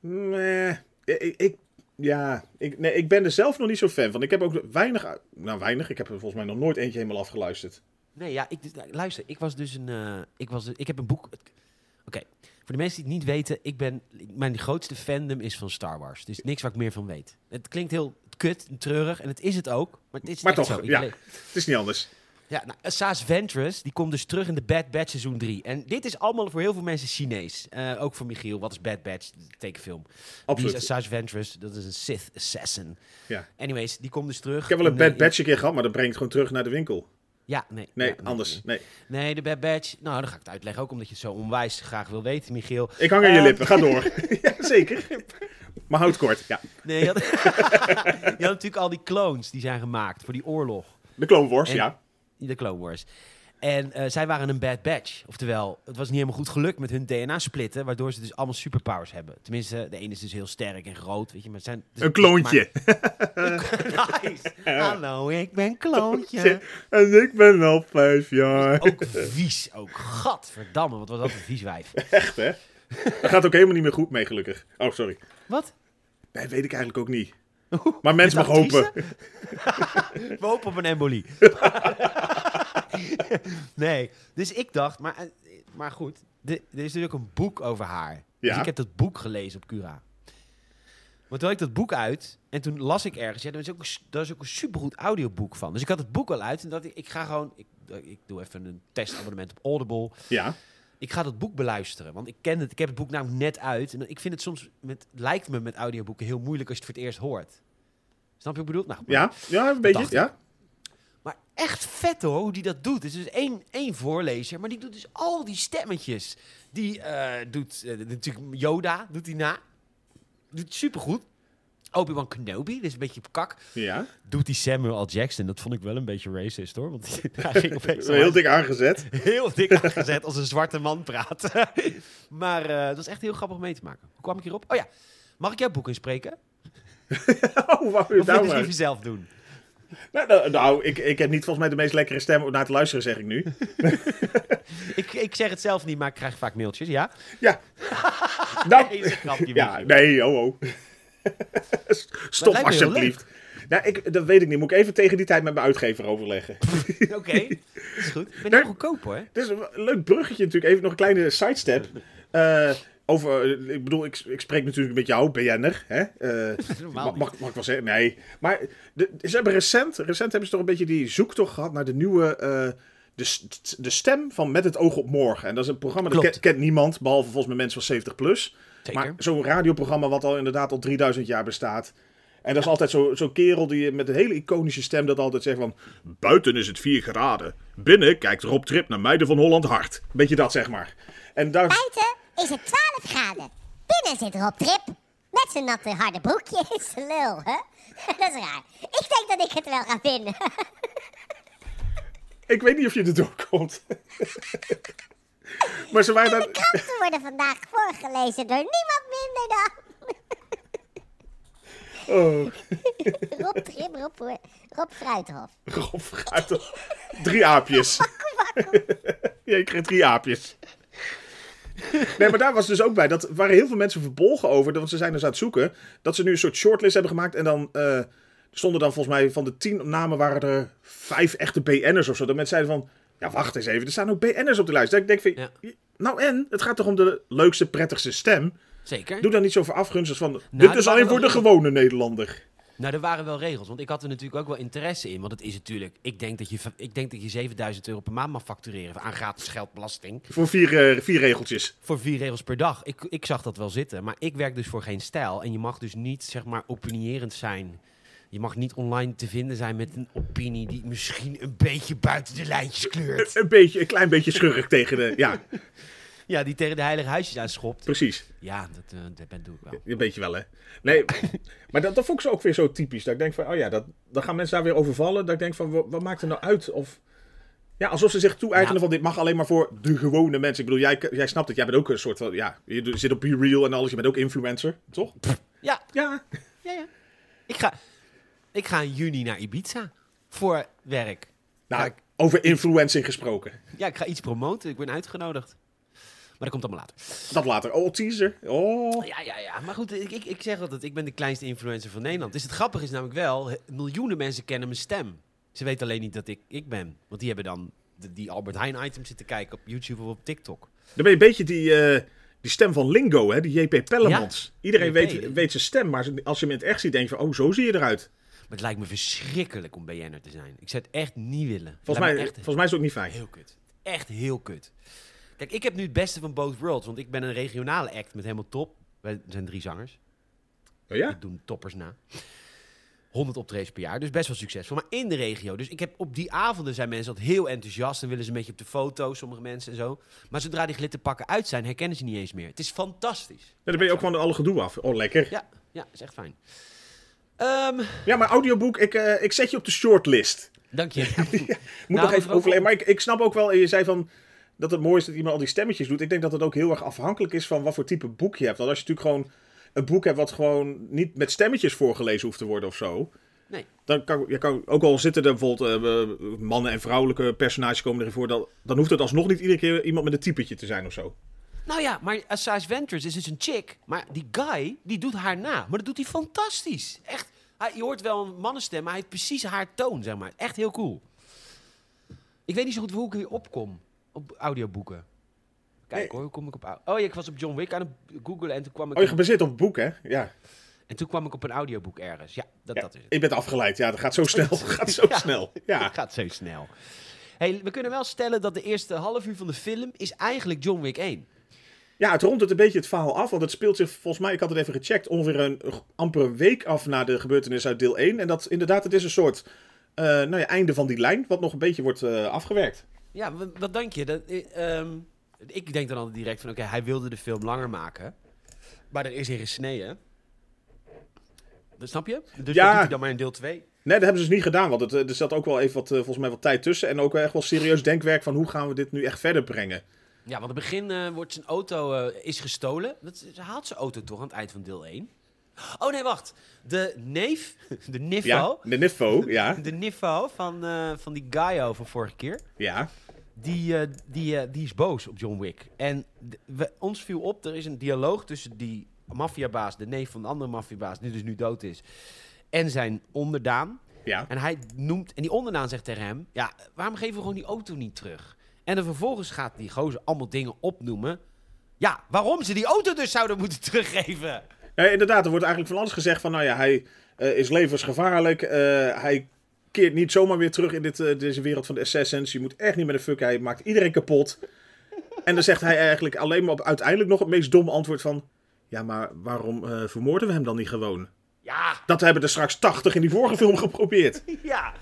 Nee, ik, ik- ja, ik, nee, ik ben er zelf nog niet zo fan van. Ik heb ook weinig, nou weinig, ik heb er volgens mij nog nooit eentje helemaal afgeluisterd. eh, Nee, ja, ik, luister, ik was dus een... eh, ik, was, ik heb een boek... Oké, voor de mensen die het niet weten, ik ben, mijn grootste fandom is van Star Wars. Het is niks waar ik meer van weet. Het klinkt heel kut en treurig en het is het ook. Maar het is Maar echt toch, zo. Ik ja. le- Het is niet anders. ja, nou, Saas Ventress, die komt dus terug in de Bad Batch seizoen 3. En dit is allemaal voor heel veel mensen Chinees. Eh, ook voor Michiel, wat is Bad Batch? De Tekenfilm. Die is Absoluut. Saas Ventress, dat is een Sith assassin. Ja. Anyways, die komt dus terug. Ik heb wel een En, eh, bad badge een keer gehad, maar dat brengt gewoon terug naar de winkel. Ja, nee. Nee, ja, anders. Nee. Nee, de Bad Batch. Nou, dan ga ik het uitleggen. Ook omdat je het zo onwijs graag wil weten, Michiel. Ik hang aan je Eh, lippen, ga door. [laughs] ja, zeker. Maar houd kort, ja. Nee, [laughs] je had, [laughs] je had natuurlijk al die clones die zijn gemaakt voor die oorlog. De Clone Wars, En- [laughs] ja. De Clone Wars. En eh, zij waren een bad batch. Oftewel, het was niet helemaal goed gelukt met hun DNA-splitten. Waardoor ze dus allemaal superpowers hebben. Tenminste, de ene is dus heel sterk en groot. Weet je, maar het zijn, dus- Een kloontje. maar- [laughs] nice. Hallo, ik ben [laughs] kloontje. En ik ben al vijf jaar. Ook vies, ook. Gadverdamme, wat was dat een vies [laughs] wijf. Echt, hè? Dat gaat ook helemaal niet meer goed mee, gelukkig. Oh, sorry. Wat? Nee, weet ik eigenlijk ook [laughs] niet. Maar mens mag hopen. actrice? [laughs] We hopen op een embolie. nee, dus ik dacht, maar, eh, maar goed, de- er is natuurlijk een boek over haar. Dus Ja. ik heb dat boek gelezen op Cura. Maar toen had ik dat boek uit en toen las ik ergens, ja, daar is ook een, s- daar is ook een supergoed audioboek van. Dus ik had het boek al uit en dacht ik, ik ga gewoon, ik, ik doe even een testabonnement op Audible Ja. ik ga dat boek beluisteren. Want ik ken het, ik heb het boek nou net uit. En ik vind het soms, met, lijkt me met audioboeken heel moeilijk als je het voor het eerst hoort. Snap je wat ik bedoel? Nou, maar, Ja, ja een beetje. dacht ik. Ja. maar echt vet hoor, hoe die dat doet. Er is dus één, één voorlezer, maar die doet dus al die stemmetjes. Die eh, doet eh, natuurlijk Yoda, doet hij na. Doet het supergoed. Obi-Wan Kenobi, dat is een beetje op kak. ja. Doet die Samuel L. Jackson, dat vond ik wel een beetje racist hoor. Want [laughs] hij ging opeens Heel dik aangezet. heel dik aangezet als een zwarte man praat. [laughs] maar eh, dat is echt heel grappig om mee te maken. Hoe kwam ik hierop? Oh ja, mag ik jouw boek inspreken? Oh, wou je Of wil je nou het liever maar. zelf doen? Nou, nou, nou, ik, ik heb niet volgens mij de meest lekkere stem om naar te luisteren, zeg ik nu. [laughs] Ik, ik zeg het zelf niet, maar ik krijg vaak mailtjes, ja? Ja. Nee, Nou, dat is een grapje. Oh. ja, Michiel. nee, oh, [laughs] oh. Stop lijkt me heel alsjeblieft. Nou, ik, dat weet ik niet. Moet ik even tegen die tijd met mijn uitgever overleggen. Oké, [laughs] is goed. Ik ben heel goedkoop hoor. Dit is een leuk bruggetje natuurlijk. Even nog een [laughs] kleine sidestep. Eh, over, eh, ik bedoel, ik, ik spreek natuurlijk met jou, BN'er. Hè? Eh, Normaal mag, niet. mag, mag ik wel zeggen? Nee. Maar de, ze hebben recent, recent hebben ze toch een beetje die zoektocht gehad naar de nieuwe... eh, de, st- de stem van Met het oog op morgen. En dat is een programma dat Klopt. kent, kent niemand, behalve volgens mij mensen van 70 plus. Zeker. Maar zo'n radioprogramma wat al inderdaad al 3000 jaar bestaat. En dat is altijd zo- zo'n kerel die met een hele iconische stem dat altijd zegt van... Buiten is het 4 graden. Binnen kijkt Rob Trip naar meiden van Holland hard. Beetje dat, zeg maar. En daar... Buiten is het 12 graden. Binnen zit Rob Trip. Met zijn natte harde broekje in zijn [laughs] lul, hè? Dat is raar. Ik denk dat ik het wel ga vinden. [laughs] Ik weet niet of je erdoor komt. [laughs] maar ze waren daar... Kranten worden vandaag voorgelezen door niemand minder dan... Oh, [laughs] Rob Trip, Rob, Rob Fruithof. Rob Fruit. Drie aapjes. [laughs] Ja, ik kreeg drie aapjes. Nee, maar daar was dus ook bij. Dat waren heel veel mensen verbolgen over. Want ze zijn dus aan het zoeken. Dat ze nu een soort shortlist hebben gemaakt. En dan eh, er stonden dan volgens mij van de tien namen waren er vijf echte BN'ers of zo. Dat mensen zeiden van, ja wacht eens even. Er staan ook BN'ers op de lijst. Dat ik denk van, nou en? Het gaat toch om de leukste, prettigste stem? Zeker. Doe daar niet zo voor afgunst van, dit het is waren alleen voor de wel- gewone Nederlander. Nou, er waren wel regels, want ik had er natuurlijk ook wel interesse in. Want het is natuurlijk, ik denk dat je, va- ik denk dat je 7000 euro per maand mag factureren aan gratis geldbelasting. Voor vier, eh, vier regeltjes. Voor vier regels per dag. Ik, ik zag dat wel zitten. Maar ik werk dus voor geen stijl. En je mag dus niet, zeg maar, opinierend zijn. Je mag niet online te vinden zijn met een opinie die misschien een beetje buiten de lijntjes [laughs] kleurt. Een, beetje, een klein beetje schurk tegen de... Ja, Ja, die tegen de heilige huisjes aanschopt. precies. Ja, dat, eh, dat ben, doe ik wel. Een beetje wel, hè? Nee, maar dat, dat vond ik ze ook weer zo typisch. Dat ik denk van, oh ja, dat, dan gaan mensen daar weer over vallen. Dat ik denk van, wa- wat, maakt er nou uit? Of, ja, alsof ze zich toe-eigenen Ja. van, dit mag alleen maar voor de gewone mensen. Ik bedoel, jij, jij snapt het. Jij bent ook een soort van, ja, je doet- zit op Be Real en alles. Je bent ook influencer, toch? Ja, Ja. ja, ja. Ik ga, ik ga in juni naar Ibiza voor werk. Nou, Ja, ik- over influencing gesproken. Ja, ik ga iets promoten. Ik ben uitgenodigd. Maar dat komt allemaal later. Dat later. Oh, teaser. Oh. Ja, ja, ja. Maar goed, ik, ik, ik zeg altijd, ik ben de kleinste influencer van Nederland. Dus het grappige is namelijk wel, he- miljoenen mensen kennen mijn stem. Ze weten alleen niet dat ik ik ben. Want die hebben dan de- die Albert Heijn items zitten kijken op YouTube of op TikTok. Dan ben je een beetje die, eh, Die stem van Lingo, hè, die JP Pellemans. Iedereen JP, hè? weet, weet zijn stem, maar als je hem in het echt ziet, denk je van, oh, zo zie je eruit. Maar het lijkt me verschrikkelijk om BN'er te zijn. Ik zou het echt niet willen. Volgens mij, Lijkt me echt volgens mij is het ook niet fijn. heel kut. Echt heel kut. Kijk, ik heb nu het beste van both worlds. Want ik ben een regionale act met helemaal top. Wij zijn drie zangers. Oh ja? Dat doen toppers na. 100 optredens per jaar, dus best wel succesvol. Maar in de regio. Dus ik heb op die avonden zijn mensen altijd heel enthousiast en willen ze een beetje op de foto, sommige mensen en zo. Maar zodra die glitterpakken uit zijn, herkennen ze niet eens meer. Het is fantastisch. Ja, dan ben je ook van alle gedoe af. Oh, lekker. Ja, Ja, ja, is echt fijn. Ehm, maar audioboek, ik, eh, ik zet je op de shortlist. dank je. Moet Nou, nog even mevrouw- overleggen. Maar ik, ik snap ook wel, je zei van dat het mooi is dat iemand al die stemmetjes doet. Ik denk dat het ook heel erg afhankelijk is van wat voor type boek je hebt. Want als je natuurlijk gewoon een boek hebt wat gewoon niet met stemmetjes voorgelezen hoeft te worden of zo. Nee. Dan kan, je kan, ook al zitten er bijvoorbeeld eh, eh, mannen en vrouwelijke personages komen erin voor. Dan, dan hoeft het alsnog niet iedere keer iemand met een typetje te zijn of zo. Nou ja, maar Asajj Ventress is dus een chick. Maar die guy, die doet haar na. Maar dat doet hij fantastisch. Echt. Hij, je hoort wel een mannenstem, maar hij heeft precies haar toon, zeg maar. Echt heel cool. Ik weet niet zo goed hoe ik hier opkom. Op audioboeken. Kijk Nee. hoor, hoe kom ik op... au- Oh ja, ik was op John Wick aan het googelen en toen kwam ik, Oh, je op, gebaseerd op boek, hè? Ja. en toen kwam ik op een audioboek ergens. Ja, dat, ja. dat is het. Ik ben afgeleid. Ja, dat gaat [laughs] zo snel. gaat zo Ja. snel. Ja. Het gaat zo snel. Hey, we kunnen wel stellen dat de eerste half uur van de film is eigenlijk John Wick 1. Ja, het rondt het een beetje het verhaal af, want het speelt zich volgens mij, ik had het even gecheckt, ongeveer een amper een week af na de gebeurtenis uit deel 1. En dat inderdaad, het is een soort eh, nou ja, einde van die lijn, wat nog een beetje wordt eh, afgewerkt. Ja, wa- wat denk je? Dat, eh, ehm, ik denk dan altijd direct van, oké, hij wilde de film langer maken. Maar er is in gesneden. Dat snap je? Dus Ja. dat doet hij dan maar in deel 2. Nee, dat hebben ze dus niet gedaan, want het, eh, er zat ook wel even wat, eh, volgens mij wat tijd tussen. En ook wel echt wel serieus denkwerk van hoe gaan we dit nu echt verder brengen. Ja, want in het begin eh, wordt zijn auto eh, is gestolen. Dat, ze haalt zijn auto toch aan het eind van deel 1? Oh nee, wacht. De neef, [laughs] de niffo, Ja, de Niffo, ja, de niffo van, eh, van die Gaio van vorige keer. ja. Die, eh, die, eh, die is boos op John Wick. En d- we, ons viel op, er is een dialoog tussen die maffiabaas, de neef van de andere maffiabaas, die dus nu dood is, en zijn onderdaan. ja. En hij noemt, en die onderdaan zegt tegen hem, ja, waarom geven we gewoon die auto niet terug? En dan vervolgens gaat die gozer allemaal dingen opnoemen. Ja, waarom ze die auto dus zouden moeten [laughs] teruggeven. Ja, inderdaad, er wordt eigenlijk van alles gezegd van, nou ja, hij eh, is levensgevaarlijk. eh, hij keert niet zomaar weer terug in dit, eh, deze wereld van de Assassins. Je moet echt niet met een fuck, hij maakt iedereen kapot. En dan zegt hij eigenlijk alleen maar op uiteindelijk nog het meest domme antwoord van... Ja, maar waarom eh, vermoorden we hem dan niet gewoon? Ja, Dat hebben er straks 80 in die vorige film geprobeerd. [laughs] Ja,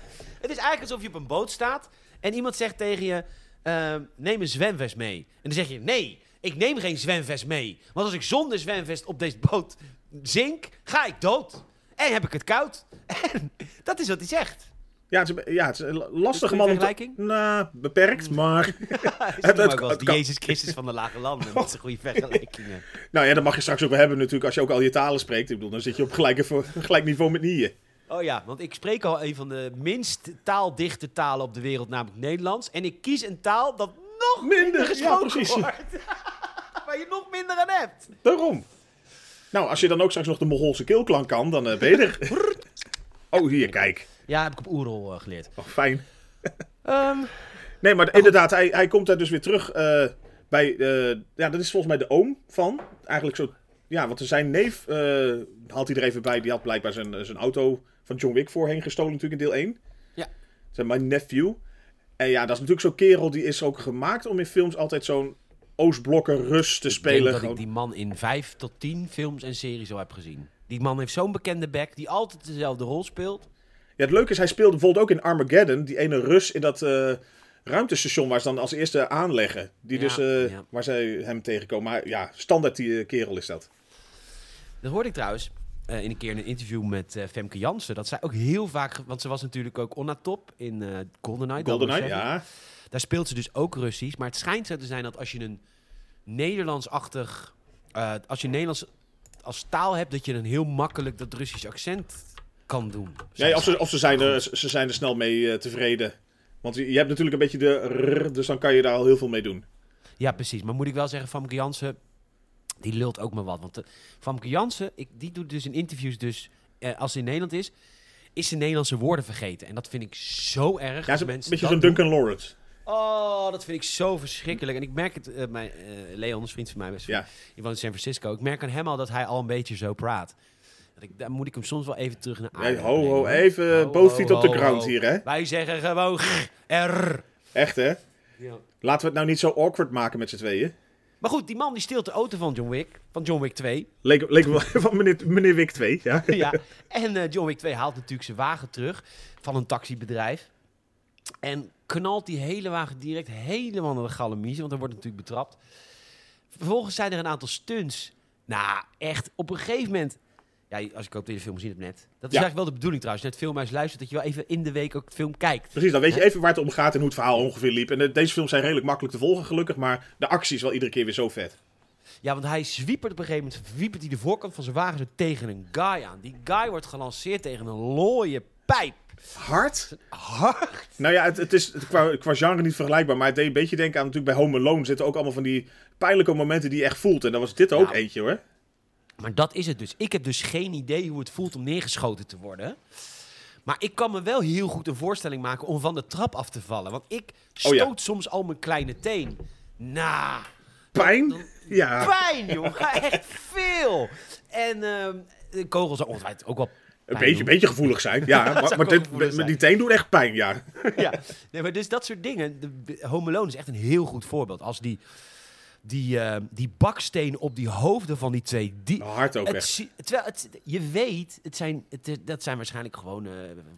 het is eigenlijk alsof je op een boot staat en iemand zegt tegen je: ehm, neem een zwemvest mee. En dan zeg je: nee, ik neem geen zwemvest mee. Want als ik zonder zwemvest op deze boot zink, ga ik dood. En heb ik het koud. [laughs] En dat is wat hij zegt. Ja, het is een, be- ja, het is een Goede lastige man. om te- vergelijking? Nou, beperkt, [laughs] maar... Ik noem het ook wel kan- eens de kan- Jezus Christus van de lage landen. Dat zijn [laughs] goede vergelijkingen. Nou ja, dat mag je straks ook wel hebben natuurlijk als je ook al je talen spreekt. Ik bedoel, dan zit je op gelijke, vo- [laughs] gelijk niveau met Nieën. Oh ja, want ik spreek al een van de minst taaldichte talen op de wereld, namelijk Nederlands. En ik kies een taal dat nog minder, Minder, ja, gesproken precies. wordt. [laughs] Waar je nog minder aan hebt. Daarom. Nou, als je dan ook straks nog de Mongoolse keelklank kan, dan eh, ben je er. Oh, hier, kijk. Ja, heb ik op Oerol eh, geleerd. Oh, fijn. Ehm, Nee, maar inderdaad, hij, hij komt daar dus weer terug eh, bij... eh, ja, dat is volgens mij de oom van. Eigenlijk zo... Ja, want zijn neef eh haalt hij er even bij. Die had blijkbaar zijn, zijn auto van John Wick voorheen gestolen natuurlijk in deel 1. Ja. Zijn my nephew. En ja, dat is natuurlijk zo'n kerel. Die is ook gemaakt om in films altijd zo'n Oostblokken Rus te ik denk spelen. dat ik Gewoon- die man in vijf tot tien films en series al heb gezien. Die man heeft zo'n bekende bek die altijd dezelfde rol speelt. Ja, het leuke is, hij speelde bijvoorbeeld ook in Armageddon, die ene Rus in dat eh, ruimtestation waar ze dan als eerste aanleggen. Die Ja, dus, eh, ja. waar zij hem tegenkomen. Maar ja, standaard die eh, kerel is dat. Dat hoorde ik trouwens eh, in een keer in een interview met eh, Femke Jansen. Dat zij ook heel vaak... ge- Want ze was natuurlijk ook Onna Top in eh GoldenEye. GoldenEye, 007. ja. Daar speelt ze dus ook Russisch. Maar het schijnt zo te zijn dat als je een Nederlands-achtig... eh, als je Nederlands als taal hebt, dat je een heel makkelijk dat Russisch accent kan doen. Nee, of ze, of ze, zijn er, ze zijn er snel mee eh, tevreden. Want je je hebt natuurlijk een beetje de rrr, dus dan kan je daar al heel veel mee doen. Ja, precies. Maar moet ik wel zeggen, Famke Jansen, die lult ook maar wat. Want eh, Famke Jansen, ik, die doet dus in interviews dus, eh, als ze in Nederland is, is ze Nederlandse woorden vergeten. En dat vind ik zo erg. Ja, als ze, een mensen beetje dat zo'n Duncan Lawrence. doen. Oh, dat vind ik zo verschrikkelijk. En ik merk het, eh, mijn, eh, Leon is vriend van mij, best Ja. die woont in San Francisco. Ik merk aan hem al dat hij al een beetje zo praat. Dat ik, daar moet ik hem soms wel even terug naar aarde Hey, ho, brengen, ho, Ah, hoor. even Ho, both ho, feet op de ho, ground ho. hier, hè? Wij zeggen gewoon [laughs] grr, er. Echt, hè? Ja. Laten we het nou niet zo awkward maken met z'n tweeën. Maar goed, die man die steelt de auto van John Wick, van John Wick 2. Leek, leek wel [laughs] van meneer, meneer Wick 2, ja. [laughs] ja. En eh, John Wick 2 haalt natuurlijk zijn wagen terug van een taxibedrijf. En knalt die hele wagen direct helemaal naar de galamiezen, want hij wordt natuurlijk betrapt. Vervolgens zijn er een aantal stunts. Nou, echt, op een gegeven moment... Ja, als ik hoop dat je de film gezien hebt net. Dat is eigenlijk wel de bedoeling trouwens. Net filmhuis luistert, dat je wel even in de week ook de film kijkt. Precies, dan weet je even waar het om gaat en hoe het verhaal ongeveer liep. En eh, deze films zijn redelijk makkelijk te volgen, gelukkig. Maar de actie is wel iedere keer weer zo vet. Ja, want hij zwiepert op een gegeven moment... zwiepert hij de voorkant van zijn wagen zo tegen een guy aan. Die guy wordt gelanceerd tegen een looie pijp. Hard? Hard. Nou ja, het, het is het- qua, qua genre niet vergelijkbaar. Maar het deed een beetje denken aan natuurlijk bij Home Alone zitten ook allemaal van die pijnlijke momenten die je echt voelt. En daar was dit er ook Ja. eentje hoor. Maar dat is het dus. Ik heb dus geen idee hoe het voelt om neergeschoten te worden. Maar ik kan me wel heel goed een voorstelling maken om van de trap af te vallen. Want ik stoot Oh ja. soms al mijn kleine teen. Nou, Pijn? Ja. pijn, jongen. Echt veel. En ehm, de kogels zijn ongetwijfeld ook wel Een pijn beetje, doen. een beetje gevoelig zijn. [laughs] Ja, maar, zou maar ook dit, gevoelig met zijn. die teen doet echt pijn, ja. ja. Nee, maar dus dat soort dingen. De, de- Home Alone is echt een heel goed voorbeeld. Als die, die, eh, die baksteen op die hoofden van die twee... Die, Hard ook het echt. zie- terwijl het, je weet, het zijn, het, is- dat zijn waarschijnlijk gewoon eh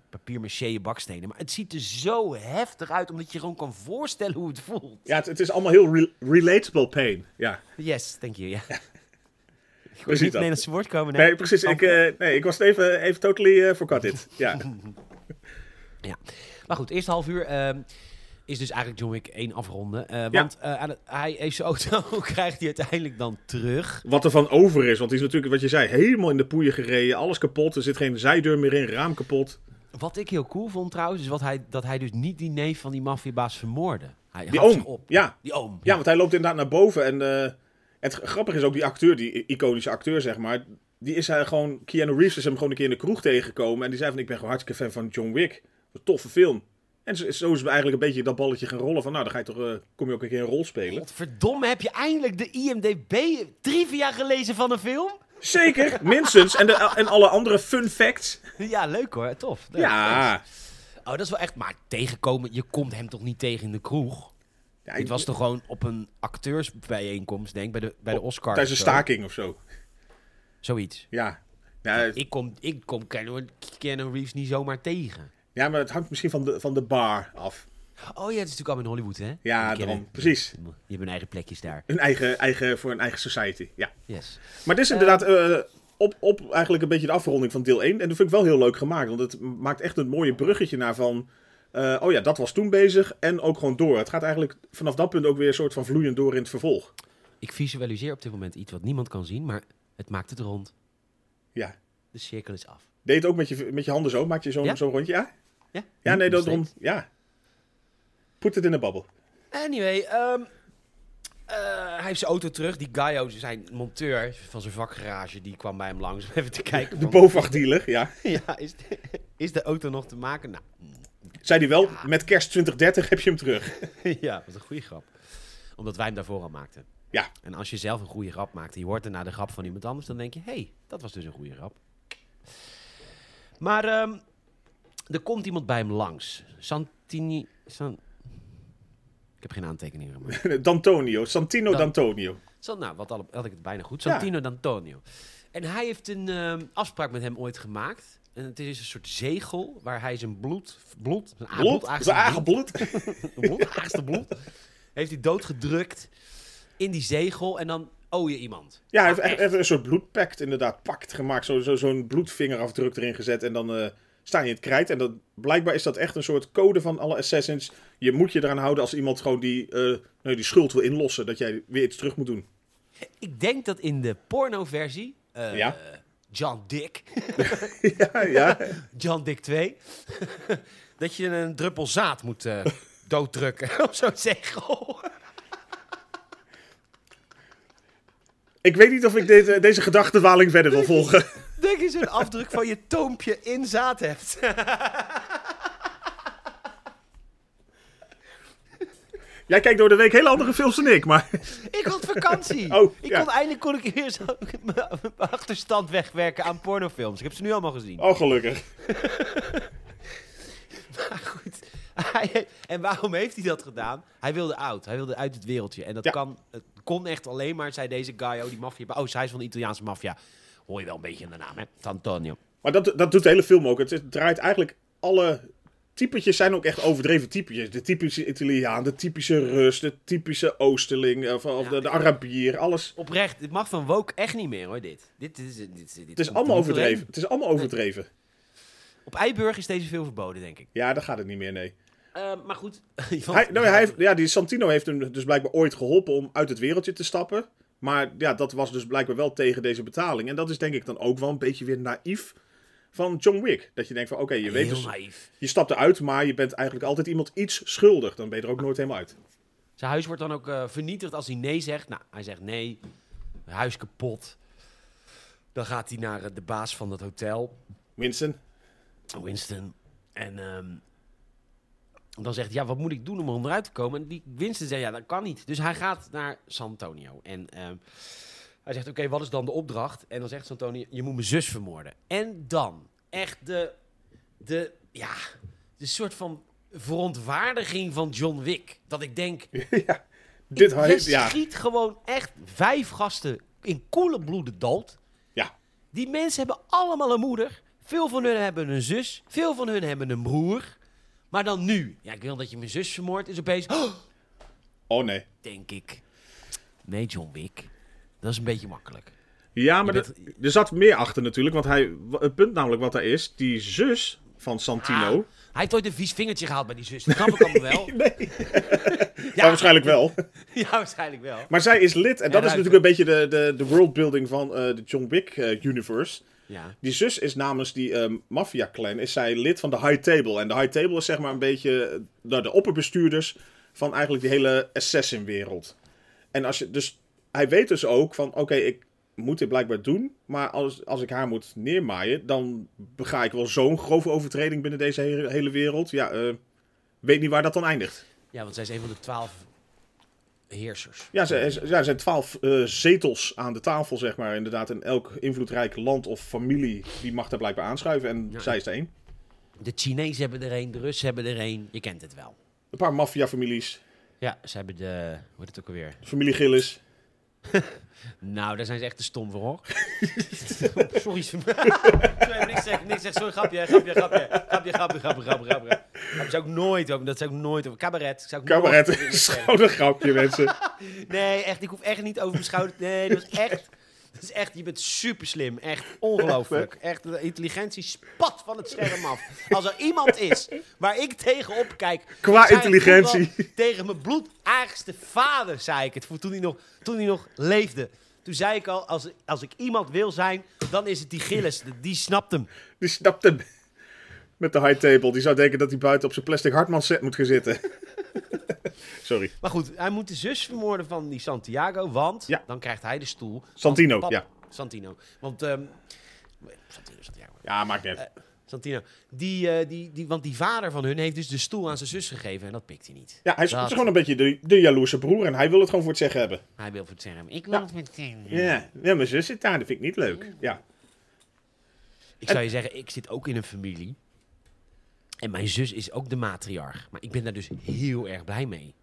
papier-maché bakstenen. Maar het ziet er zo heftig uit, omdat je gewoon kan voorstellen hoe het voelt. Ja, het, het is allemaal heel re- relatable pain. Ja. Yes, thank you, ja. Ik hoor Precies niet dat. op Nederlandse woord komen. Nee, precies. Ik, Amper. eh, nee, ik was het even, even totally eh, forgot dit. [laughs] Ja. Ja. Maar goed, eerste half uur ehm, is dus eigenlijk John Wick één afronden. Eh, want eh, aan het- hij heeft [laughs] zijn auto, krijgt hij uiteindelijk dan terug. Wat er van over is, want die is natuurlijk, wat je zei, helemaal in de poeien gereden. Alles kapot, er zit geen zijdeur meer in, raam kapot. Wat ik heel cool vond trouwens, is wat hij, dat hij dus niet die neef van die maffiabaas vermoordde. Hij Die gaf oom, zich op. ja. Die oom. Ja, want hij loopt inderdaad naar boven. En eh, het g- grappige is ook die acteur, die i- iconische acteur, zeg maar. Die is hij gewoon, Keanu Reeves is hem gewoon een keer in de kroeg tegengekomen. En die zei van, ik ben gewoon hartstikke fan van John Wick. Wat een toffe film. En zo, zo is het eigenlijk een beetje dat balletje gaan rollen van, nou, dan ga je toch, eh, kom je ook een keer een rol spelen. Godverdomme, heb je eindelijk de IMDB trivia gelezen van een film? [laughs] Zeker, minstens. En, de, eh, en alle andere fun facts. Ja, leuk hoor, tof. Leuk. Ja. Oh, dat is wel echt, maar tegenkomen, je komt hem toch niet tegen in de kroeg? ja Dit ik- was toch gewoon op een acteursbijeenkomst, denk ik, bij de, bij de Oscars. Tijdens een of zo. staking of zo. Zoiets. Ja. Ja, het- Ik kom, ik kom Keanu, Keanu Reeves niet zomaar tegen. ja, maar het hangt misschien van de, van de bar af. Oh ja, het is natuurlijk allemaal in Hollywood, hè? Ja, Die kennen- daarom. Precies. Je hebt hun eigen plekjes daar. Hun eigen, eigen, voor hun eigen society. Ja. Yes. Maar dit is inderdaad eh, op, op eigenlijk een beetje de afronding van deel 1. En dat vind ik wel heel leuk gemaakt. Want het maakt echt een mooie bruggetje naar van... eh, oh ja, dat was toen bezig. En ook gewoon door. Het gaat eigenlijk vanaf dat punt ook weer een soort van vloeiend door in het vervolg. Ik visualiseer op dit moment iets wat niemand kan zien, maar het maakt het rond. Ja. De cirkel is af. Deed het ook met je, met je handen zo? Maak je zo'n Ja? zo'n rondje? Ja? Ja, Ja, nee, Nog dat rond. steeds. Ja. Put it in de babbel. Anyway, ehm, eh, hij heeft zijn auto terug. Die Gaio, zijn monteur van zijn vakgarage, die kwam bij hem langs om even te kijken. De van, BOVAG-dealer, ja. [laughs] ja, is, de, is de auto nog te maken? [laughs] Nou, Zei die wel, met kerst 2030 heb je hem terug. ja, wat een goede grap. Omdat wij hem daarvoor al maakten. Ja. [laughs] En als je zelf een goede grap maakt en je hoort daarna de grap van iemand anders, dan denk je, hé, hey, dat was dus een goede grap. Maar ehm, er komt iemand bij hem langs. Santini... San... Ik heb geen aantekeningen gemaakt. [laughs] D'Antonio, Santino Dan- D'Antonio. San- nou, wat alle- had ik het bijna goed. Ja. Santino D'Antonio. En hij heeft een ehm, afspraak met hem ooit gemaakt. En het is een soort zegel waar hij zijn bloed... Bloed? Zijn Blond, aangebold- zijn eigen bloed. bloed, aagste bloed. [laughs] Heeft hij doodgedrukt in die zegel en dan owe je iemand. Ja, hij heeft echt, echt een soort bloedpact inderdaad, pact gemaakt. Zo, zo, zo'n bloedvingerafdruk erin gezet en dan eh, sta je in het krijt. En dat, blijkbaar is dat echt een soort code van alle assassins. Je moet je eraan houden als iemand gewoon die, eh, nee, die schuld wil inlossen. Dat jij weer iets terug moet doen. Ik denk dat in de pornoversie... eh Ja. [laughs] John Dick. [laughs] ja, ja. John Dick 2. [laughs] dat je een druppel zaad moet [laughs] eh, dooddrukken [laughs] op zo'n zegel. Ik weet niet of ik dit, eh, deze gedachtenwaling verder wil [laughs] volgen. Denk eens een afdruk van je toompje in zaad hebt. Jij kijkt door de week hele andere films dan ik, maar... [laughs] Ik had [laughs] vakantie. Oh, ik ja. kon, eindelijk kon ik weer zo [laughs] mijn achterstand wegwerken aan pornofilms. Ik heb ze nu allemaal gezien. Oh, gelukkig. [laughs] Maar Ah, goed. Hij- en waarom heeft hij dat gedaan? Hij wilde oud. Hij wilde uit het wereldje. En dat Ja. kan, het kon echt alleen maar, zei deze guy, oh, die maffia. Oh, zij is van de Italiaanse maffia. Hoor je wel een beetje in de naam, hè? Antonio. Maar dat, dat doet de hele film ook. Het, het draait eigenlijk alle... Typetjes zijn ook echt overdreven typetjes. De typische Italiaan, de typische Rus, de typische Oosterling, eh, of, of de, de Arabier, alles. Oprecht, dit mag van Woke echt niet meer, hoor, dit. Dit, is, dit, dit, Het is allemaal overdreven. Het is allemaal overdreven. Op Eiburg is deze veel verboden, denk ik. Ja, daar gaat het niet meer, nee. Eh, maar [laughs] goed. Hij, nou, ja, hij heeft, ja, die Santino heeft hem dus blijkbaar ooit geholpen om uit het wereldje te stappen. Maar ja, dat was dus blijkbaar wel tegen deze betaling. En dat is denk ik dan ook wel een beetje weer naïef van John Wick. Dat je denkt van, oké, je weet Heel dus, naïef. je stapt eruit, maar je bent eigenlijk altijd iemand iets schuldig. Dan ben je er ook nooit helemaal uit. Zijn huis wordt dan ook eh, vernietigd als hij nee zegt. Nou, hij zegt nee. Mijn huis kapot. Dan gaat hij naar eh, de baas van dat hotel, [laughs] Winston, Winston. En ehm, dan zegt hij, ja, wat moet ik doen om onderuit te komen? En die Winston zegt, ja, dat kan niet. Dus hij gaat naar San Antonio. En ehm, hij zegt, oké, wat is dan de opdracht? En dan zegt San Antonio, je moet mijn zus vermoorden. En dan, echt de, de, ja, de soort van verontwaardiging van John Wick. Dat ik denk, dit je huis, ja, schiet gewoon echt vijf gasten in koele bloeden dood. ja, Die mensen hebben allemaal een moeder. Veel van hun hebben een zus. Veel van hun hebben een broer. Maar dan nu. Ja, ik wil dat je mijn zus vermoordt. Is opeens... Oh, oh nee. denk ik. Nee, John Wick. Dat is een beetje makkelijk. Ja, maar Je dat- er zat meer achter natuurlijk. Want hij, het punt namelijk wat daar is, die zus van Santino... Ah, hij heeft ooit een vies vingertje gehaald bij die zus. Dat snap ik allemaal wel. Nou? [laughs] Nee, [laughs] maar waarschijnlijk wel. Ja, waarschijnlijk wel. Maar zij is lid, en dat is ruiken. natuurlijk een beetje de, de, de worldbuilding van eh, de John Wick eh, universe. Ja. Die zus is namens die eh maffia-clan, is zij lid van de High Table. En de High Table is zeg maar een beetje eh, nou, de opperbestuurders van eigenlijk die hele assassin-wereld. En als je, dus hij weet dus ook van, oké, ik moet dit blijkbaar doen, maar als, als ik haar moet neermaaien, dan bega ik wel zo'n grove overtreding binnen deze hele, hele wereld. Ja, eh, weet niet waar dat dan eindigt. ja, want zij is een van de twaalf heersers. Ja, ze- ze- ja, er zijn twaalf eh, zetels aan de tafel, zeg maar. Inderdaad, in elk invloedrijk land of familie, die mag daar blijkbaar aanschuiven. En zij is er één. De Chinezen hebben er een. De Russen hebben er een. Je kent het wel. Een paar maffiafamilies, Ja, ze hebben de... Hoe heet het ook alweer? familie Gillis. Nou, daar zijn ze echt te stom voor, hoor. sorry. [laughs] sorry, niks zeggen, niks zeggen. Sorry, grapje, grapje, grapje. Grapje, grapje, grapje, grapje, grapje. Dat zou ik nooit over, dat zou ik nooit over. Cabaret. zou ik nooit Cabaret, over [laughs] willen zeggen. schoudergrapje, mensen. Nee, echt, ik hoef echt niet over mijn schouder. Nee, dat is echt, dat is echt, je bent super slim. Echt ongelooflijk. Echt, de intelligentie spat van het scherm af. Als er iemand is waar ik tegenop kijk. Qua dan zei ik intelligentie. toen wel Tegen mijn bloedaardigste vader, zei ik het. voor Toen hij nog, toen hij nog leefde. Toen zei ik al, als, als ik iemand wil zijn, dan is het die Gilles. Die- Die snapt hem. Die snapt hem. Met de high table. Die zou denken dat hij buiten op zijn plastic hartman set moet gaan zitten. [laughs] Sorry. Maar goed, hij moet de zus vermoorden van die Santiago, want Ja. dan krijgt hij de stoel. Santino, Want ja. Santino. Want, ehm, Santino, Santiago. Ja, maakt niet uit. Santino. Die, eh, die, die, want die vader van hun heeft dus de stoel aan zijn zus gegeven en dat pikt hij niet. Ja, hij is dat- gewoon een beetje de, de jaloerse broer. En hij wil het gewoon voor het zeggen hebben. Hij wil voor het scherm. Ik wil het meteen. Ja, ja mijn zus zit daar. Dat vind ik niet leuk. Ja. Ik zou je zeggen, ik zit ook in een familie. En mijn zus is ook de matriarch. Maar ik ben daar dus heel erg blij mee.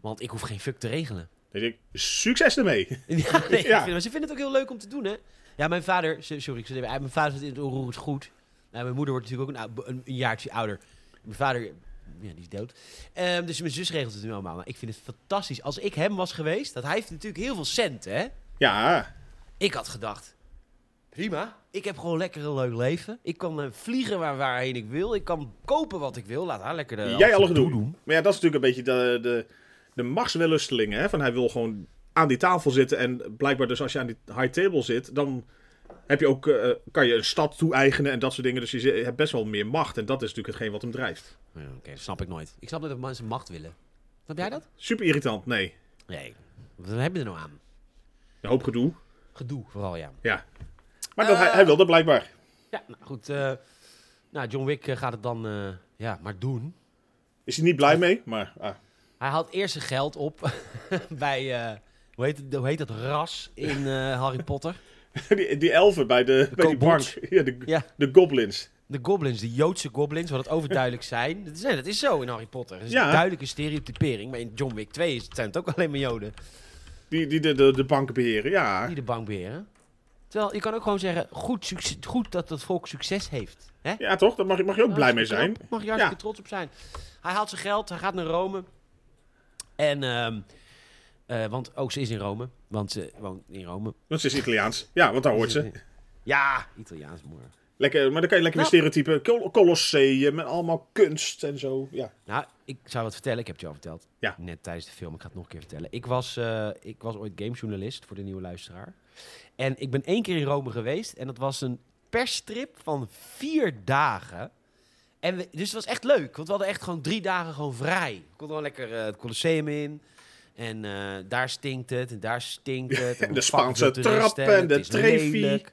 Want ik hoef geen fuck te regelen. Dan denk ik, succes ermee. [laughs] Ja, nee, ik Ja. vind- maar ze vinden het ook heel leuk om te doen, hè? Ja, mijn vader, so- sorry, ik zat even, mijn vader zit in het onroerend goed. Nou, mijn moeder wordt natuurlijk ook een, ou- een, een jaartje ouder. Mijn vader, ja, die is dood. Ehm, dus mijn zus regelt het nu allemaal. Maar ik vind het fantastisch. Als ik hem was geweest, dat hij heeft natuurlijk heel veel cent, hè? Ja. Ik had gedacht, prima. Ik heb gewoon lekker een leuk leven. Ik kan eh, vliegen waar, waarheen ik wil. Ik kan kopen wat ik wil. Laat haar lekker eh, de Jij alle alles gedoe. Maar ja, dat is natuurlijk een beetje de, de, de machtswellusteling. Hè? Van hij wil gewoon aan die tafel zitten. En blijkbaar dus als je aan die high table zit, dan heb je ook, eh, kan je een stad toe-eigenen en dat soort dingen. Dus je zi- hebt best wel meer macht. En dat is natuurlijk hetgeen wat hem drijft. Ja, Oké, dat snap ik nooit. Ik snap niet dat mensen macht willen. Snap jij dat? Super irritant, nee. Nee. Wat heb je er nou aan? Een hoop gedoe, Gedoe, vooral ja. ja. Maar dat, hij, hij wil dat blijkbaar. Ja, nou goed. eh, nou, John Wick eh, gaat het dan eh, ja, maar doen. Is hij niet blij mee, maar... ah. [laughs] Hij Hij haalt eerst zijn geld op [laughs] bij, eh, hoe, heet het, hoe heet dat, ras in eh, Harry Potter. die, die elfen bij, de, bij die bank. kobolds. Ja, de, Ja. de goblins. De goblins, de Joodse goblins, wat het overduidelijk zijn. Dat is, nee, dat is zo in Harry Potter. Dat is Ja. een duidelijke stereotypering. Maar in John Wick 2 is- zijn het ook alleen maar Joden Die, die de, de, de banken beheren, ja. die de bank beheren. Terwijl, je kan ook gewoon zeggen, goed, succes- goed dat dat volk succes heeft. Hè? Ja, toch? Daar mag, je- mag je ook blij mee zijn. Knap, Mag je Ja. hartstikke trots op zijn. Hij haalt zijn geld, hij gaat naar Rome. En, ehm, eh, want ook ze is in Rome. Want ze woont in Rome. Want ze is Italiaans. Ja, want daar hoort ze. Ja, Italiaans moeder. Lekker, maar dan kan je lekker Nou. weer stereotypen. Col- Colosseum en allemaal kunst en zo. Ja. Nou, ik zou wat vertellen. Ik heb het je al verteld. Ja. Net tijdens de film. Ik ga het nog een keer vertellen. Ik was, eh, ik was ooit gamejournalist voor de nieuwe luisteraar. En ik ben één keer in Rome geweest. En dat was een persstrip van vier dagen. En we- dus het was echt leuk. Want we hadden echt gewoon drie dagen gewoon vrij. We konden gewoon lekker eh, het Colosseum in. En eh, daar stinkt het. En daar stinkt het. en de we Spaanse pakken veel toeristen, trappen en het de is trevi. lelijk.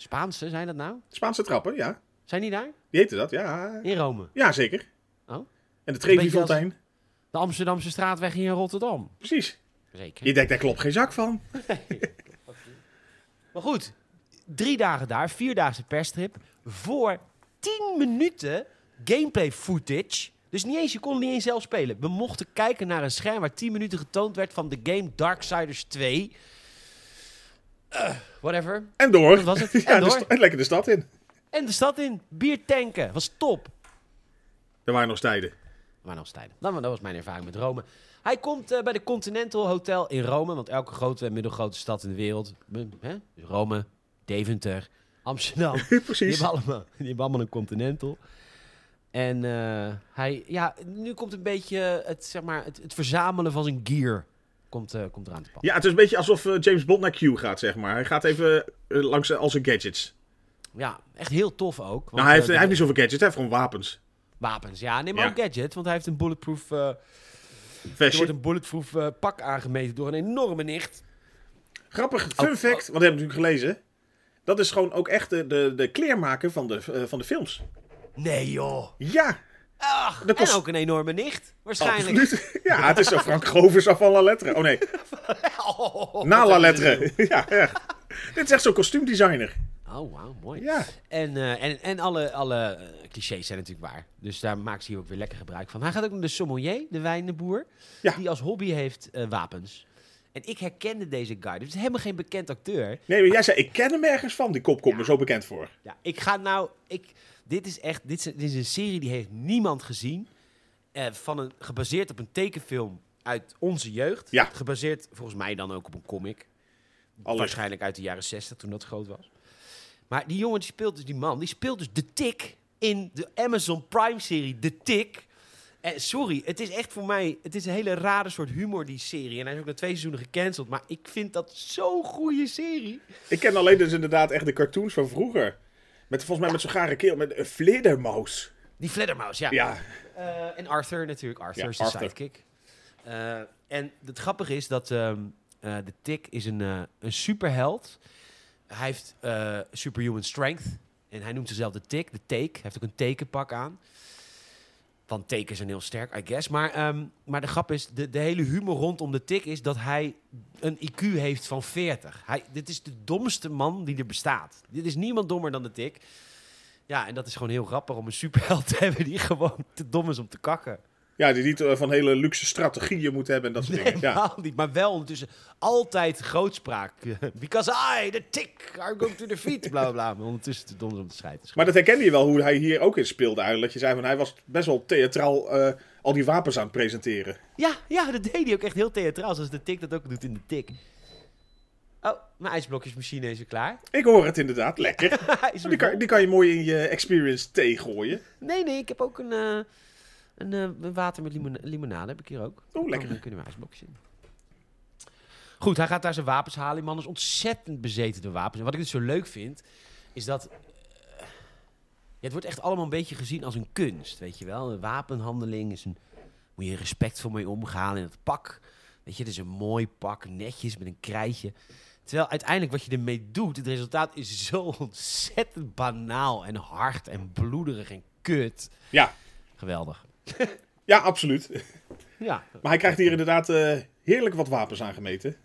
Spaanse, zijn dat nou? Spaanse trappen, ja. Zijn die daar? Die heette dat, ja. In Rome. Ja, zeker. Oh. Een En de beetje als- Trevi-fontein. De Amsterdamse straatweg hier in Rotterdam. Precies. Zeker. Je denkt, daar klopt geen zak van. Maar goed, drie dagen daar, vierdaagse perstrip. Voor tien minuten gameplay footage. Dus niet eens, je kon niet eens zelf spelen. We mochten kijken naar een scherm waar tien minuten getoond werd van de game Darksiders 2. Eh, whatever. En door. Dat was het. [laughs] Ja, En de door. sta- en lekker de stad in. En de stad in, bier tanken. Was top. Er waren nog tijden. Maar nog tijden. Nou, maar dat was mijn ervaring met Rome. Hij komt eh, bij de Continental Hotel in Rome. Want elke grote en middelgrote stad in de wereld. mm, Hè? Dus Rome, Deventer, [laughs] Amsterdam. Die Precies. hebben allemaal, die hebben allemaal een Continental. En eh, hij, ja, nu komt een beetje het, zeg maar, het, het verzamelen van zijn gear komt, eh, komt eraan te pakken. Ja, het is een beetje alsof eh, James Bond naar Q gaat, zeg maar. Hij gaat even eh, langs eh, al zijn gadgets. Ja, echt heel tof ook. want, nou, hij eh, heeft, hij heeft de- niet zoveel gadgets, hij heeft gewoon wapens. wapens. Ja, neem maar Ja. ook gadget, want hij heeft een bulletproof, eh, er Vestje. wordt een bulletproof eh, pak aangemeten door een enorme nicht. Grappig, Oh. fun fact, want dat heb ik natuurlijk gelezen. Dat is gewoon ook echt de, de, de kleermaker van de, eh, van de films. Nee joh. Ja, Ach, Dat kost- En ook een enorme nicht, waarschijnlijk. absoluut. Oh, dus- [laughs] Ja, het is zo Frank Govers af van La Lettre. Oh nee, [laughs] Oh, na wat La een Lettre. gedoe. [laughs] Ja, echt. Dit is echt zo'n kostuumdesigner. [laughs] Oh, wauw, mooi. Ja. En, eh, en, en alle, alle eh, clichés zijn natuurlijk waar. Dus daar maakt ze hier ook weer lekker gebruik van. Hij gaat ook naar de sommelier, de wijnboer. Ja. Die als hobby heeft eh, wapens. En ik herkende deze guy. Dus het is helemaal geen bekend acteur. Nee, maar jij zei, ik ken hem ergens van. Die kop komt me zo bekend voor. Ja, ik ga nou... Ik, dit is echt... Dit is, dit is een serie die heeft niemand gezien. Eh, van een, gebaseerd op een tekenfilm uit onze jeugd. Ja. Gebaseerd volgens mij dan ook op een comic. Alles. Waarschijnlijk uit de jaren 60 toen dat groot was. Maar die jongen die speelt dus die man, die speelt dus de tik in de Amazon Prime serie De Tik. Eh, sorry, het is echt voor mij, het is een hele rare soort humor die serie. En hij is ook na twee seizoenen gecanceld, maar ik vind dat zo'n goede serie. Ik ken alleen dus inderdaad echt de cartoons van vroeger. Met, volgens mij met zo'n gare keel, met een vleerdermaus. Die Fledermaus, ja. Ja, Eh, en Arthur natuurlijk, Arthur Ja, is de Arthur. sidekick. Eh, en het grappige is dat ehm, eh, de Tik is een, eh, een superheld. Hij heeft eh, superhuman strength. En hij noemt zichzelf de Tik, de Take. Hij heeft ook een tekenpak aan. Want tekens zijn heel sterk, I guess. Maar, ehm, maar de grap is, de, de hele humor rondom de Tik is dat hij een IQ heeft van 40. Hij, dit is de domste man die er bestaat. Dit is niemand dommer dan de Tik. Ja, en dat is gewoon heel grappig om een superheld [laughs] te hebben die gewoon te dom is om te kakken. ja die niet eh, van hele luxe strategieën moet hebben en [laughs] dat soort dingen. Ja. Helemaal niet, maar wel ondertussen altijd grootspraak. [laughs] Because I, the tick, I'm going to defeat, bla bla bla. Maar ondertussen te dom is om te scheiden. Is goed. Maar dat herkende je wel hoe hij hier ook in speelde eigenlijk. Dat je zei van hij was best wel theatraal eh, al die wapens aan het presenteren. Ja, ja, dat deed hij ook echt heel theatraal, zoals de tik dat ook doet in de tik. Oh, mijn ijsblokjesmachine is weer klaar. Ik hoor het inderdaad, [laughs] lekker. Is Oh, Die weer kan, vol. die kan je mooi in je experience thee gooien. Nee, nee, ik heb ook een, eh, een, eh, een water met limon- limonade, heb ik hier ook. Oh, lekker. Dan kunnen we ijsblokjes in. Goed, hij gaat daar zijn wapens halen. Die man is ontzettend bezeten door wapens. En wat ik dus zo leuk vind, is dat... eh, ja, het wordt echt allemaal een beetje gezien als een kunst, weet je wel. Een wapenhandeling is een... Moet je respectvol mee omgaan in het pak. Weet je, het is een mooi pak, netjes, met een krijtje. Terwijl uiteindelijk wat je ermee doet, het resultaat is zo [laughs] ontzettend banaal en hard en bloederig en kut. Ja, Geweldig. ja absoluut. Ja. Maar hij krijgt hier inderdaad eh, heerlijk wat wapens aangemeten.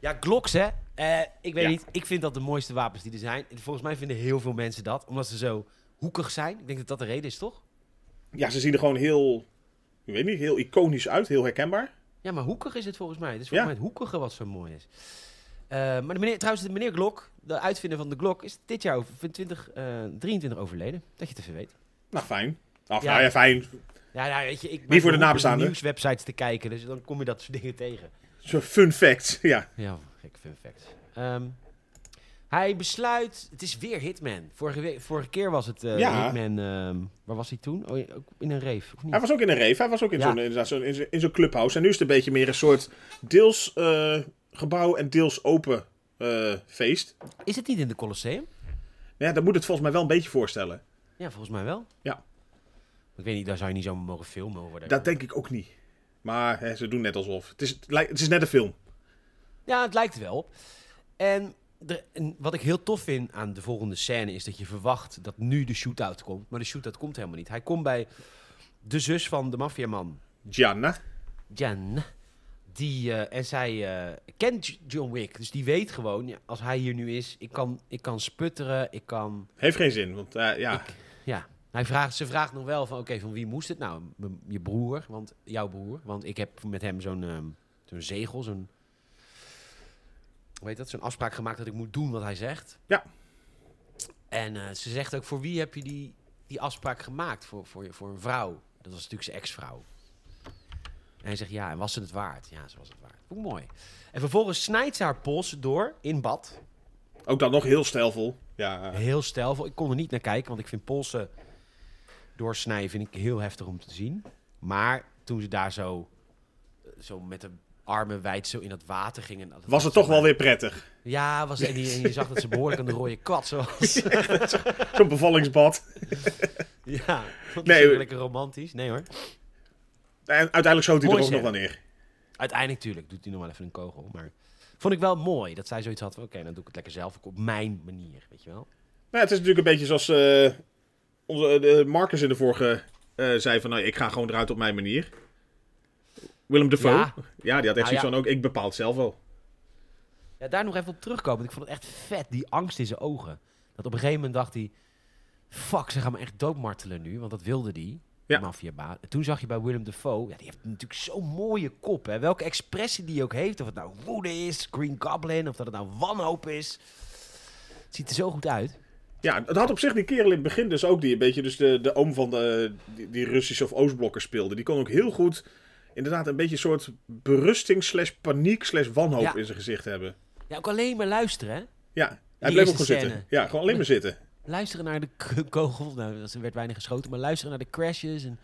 Ja, Glocks, hè. Eh, ik weet Ja. niet, ik vind dat de mooiste wapens die er zijn. En Volgens mij vinden heel veel mensen dat, omdat ze zo hoekig zijn. Ik denk dat dat de reden is, toch? Ja, ze zien er gewoon heel, ik weet niet, heel iconisch uit, heel herkenbaar. Ja, maar hoekig is het volgens mij. Het is volgens Ja. mij het hoekige wat zo mooi is. Eh, maar de meneer, trouwens, de meneer Glock, de uitvinder van de Glock, is dit jaar over, 20, eh, 23 overleden. Dat je het even weet. Nou, fijn. Af, Ja. Nou ja, fijn. Ja, ja, weet je, ik ben voor de beroep om nabestaanden. nieuwswebsites te kijken, dus dan kom je dat soort dingen tegen. Zo'n fun fact. [laughs] Ja. Ja, gek fun fact. Ehm, hij besluit... Het is weer Hitman. Vorige, we- vorige keer was het eh, Ja. Hitman... ehm, waar was hij toen? Oh, ja, ook in een reef, of niet? Hij was ook in een reef, hij was ook in Ja. zo'n inderdaad, zo'n- in zo'n- in zo'n clubhouse. En nu is het een beetje meer een soort deels eh, gebouw en deels open eh, feest. Is het niet in de Colosseum? Maar ja, dat moet het volgens mij wel een beetje voorstellen. Ja, volgens mij wel. Ja. Ik weet niet, daar zou je niet zomaar mogen filmen. Of whatever. Dat denk ik ook niet. Maar hè, ze doen net alsof. Het is, het, lijkt- het is net een film. Ja, het lijkt er wel op. En, er- en wat ik heel tof vind aan de volgende scène is dat je verwacht dat nu de shootout komt. Maar de shootout komt helemaal niet. Hij komt bij de zus van de maffiaman, Gianna. Jan. Die, eh, en zij eh, kent J- John Wick. Dus die weet gewoon, ja, als hij hier nu is, ik kan, ik kan sputteren, ik kan... Heeft geen zin, want eh, ja. Ja, hij vraagt, ze vraagt nog wel van, oké, van wie moest het nou? M- je broer, want, jouw broer. Want ik heb met hem zo'n ehm, zo'n zegel, zo'n... Hoe heet dat? Zo'n afspraak gemaakt dat ik moet doen wat hij zegt. Ja. En eh, ze zegt ook, voor wie heb je die, die afspraak gemaakt? Voor, voor, je- voor een vrouw. Dat was natuurlijk zijn ex-vrouw. En hij zegt, ja, en was ze het waard? Ja, ze was het waard. Hoe mooi. En vervolgens snijdt ze haar pols door in bad. Ook dan nog heel stijlvol. Ja. eh, Heel stijlvol. Ik kon er niet naar kijken, want ik vind polsen doorsnijden vind ik heel heftig om te zien. Maar toen ze daar zo, zo met de armen wijd zo in dat water gingen... dat- Was het toch wel weer prettig. Ja, was, en, je, en je zag dat ze behoorlijk aan de rode kwats [laughs] was. Zo'n bevallingsbad. ja, dat Nee, is ook we- lekker romantisch. Nee hoor. En uiteindelijk schoot hij Mooi er ook zeg. nog wel neer. Uiteindelijk natuurlijk doet hij nog wel even een kogel. Maar vond ik wel mooi dat zij zoiets had van... Oké, dan doe ik het lekker zelf ook op mijn manier, weet je wel. Nou, het is natuurlijk een beetje zoals eh, onze, eh, de Marcus in de vorige eh, zei van, nou, ik ga gewoon eruit op mijn manier. Willem Dafoe. Ja. Ja, die had echt Ah, zoiets ja. van, ook ik bepaal het zelf wel. Ja, daar nog even op terugkomen. Want ik vond het echt vet, die angst in zijn ogen. Dat op een gegeven moment dacht hij... Fuck, ze gaan me echt doodmartelen nu. Want dat wilde die, Ja. de maffiabaas. En Toen zag je bij Willem Dafoe... Ja, die heeft natuurlijk zo'n mooie kop. Hè. Welke expressie die ook heeft. Of het nou woede is, Green Goblin... of dat het nou wanhoop is. Het ziet er zo goed uit. Ja, het had op zich die kerel in het begin dus ook die een beetje dus de, de oom van de, die, die Russische of Oostblokker speelde. Die kon ook heel goed inderdaad een beetje een soort berusting slash paniek slash wanhoop Ja. in zijn gezicht hebben. Ja, ook alleen maar luisteren, hè. Ja, hij Die bleef ook eerste gewoon scène. zitten. Ja, gewoon alleen maar zitten. Luisteren naar de k- [laughs] kogel. Nou, er werd weinig geschoten, maar luisteren naar de crashes. En...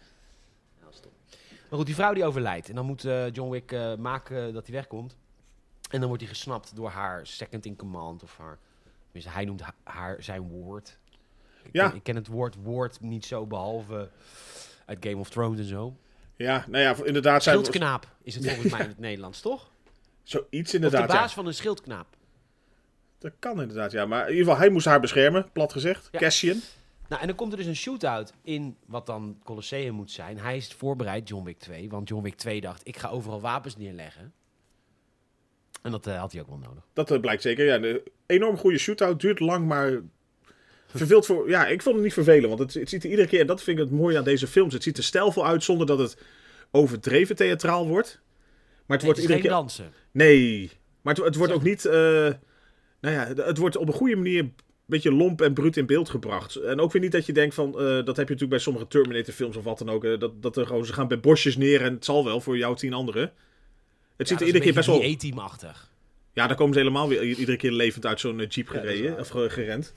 Nou, stom. Maar goed, die vrouw die overlijdt. En dan moet eh, John Wick eh, maken dat hij wegkomt. En dan wordt hij gesnapt door haar second in command. Of haar. Tenminste, hij noemt ha- haar zijn woord. Ik, Ja. ken, ik ken het woord woord niet zo behalve uit Game of Thrones en zo. Ja, nou ja, inderdaad. Zijn we, Schildknaap is het volgens mij in het Nederlands, toch? zoiets Of de inderdaad, baas ja. van een schildknaap. Dat kan inderdaad, ja. Maar in ieder geval, hij moest haar beschermen, plat gezegd. Ja. Cassian. Nou, en dan komt er dus een shootout in wat dan Colosseum moet zijn. Hij is voorbereid, John Wick 2. Want John Wick 2 dacht, ik ga overal wapens neerleggen. En dat eh, had hij ook wel nodig. Dat eh, blijkt zeker. Ja, een enorm goede shootout. Duurt lang, maar verveelt voor... Ja, ik vond het niet vervelen. Want het, het ziet er iedere keer... En dat vind ik het mooie aan deze films. Het ziet er stijlvol uit zonder dat het overdreven theatraal wordt. Nee, Maar het wordt het is iedere geen keer... dansen. Nee. Maar het, het wordt ook niet... eh, nou ja, het- het wordt op een goede manier... Een beetje lomp en bruut in beeld gebracht. En ook weer niet dat je denkt van... eh, dat heb je natuurlijk bij sommige Terminator films of wat dan ook. eh, dat, dat er gewoon... Ze gaan bij bosjes neer en het zal wel voor jou tien anderen. Het ziet er iedere keer best wel... team achtig Ja, daar komen ze helemaal weer i- iedere keer levend uit zo'n eh, jeep gereden, of ge- gerend.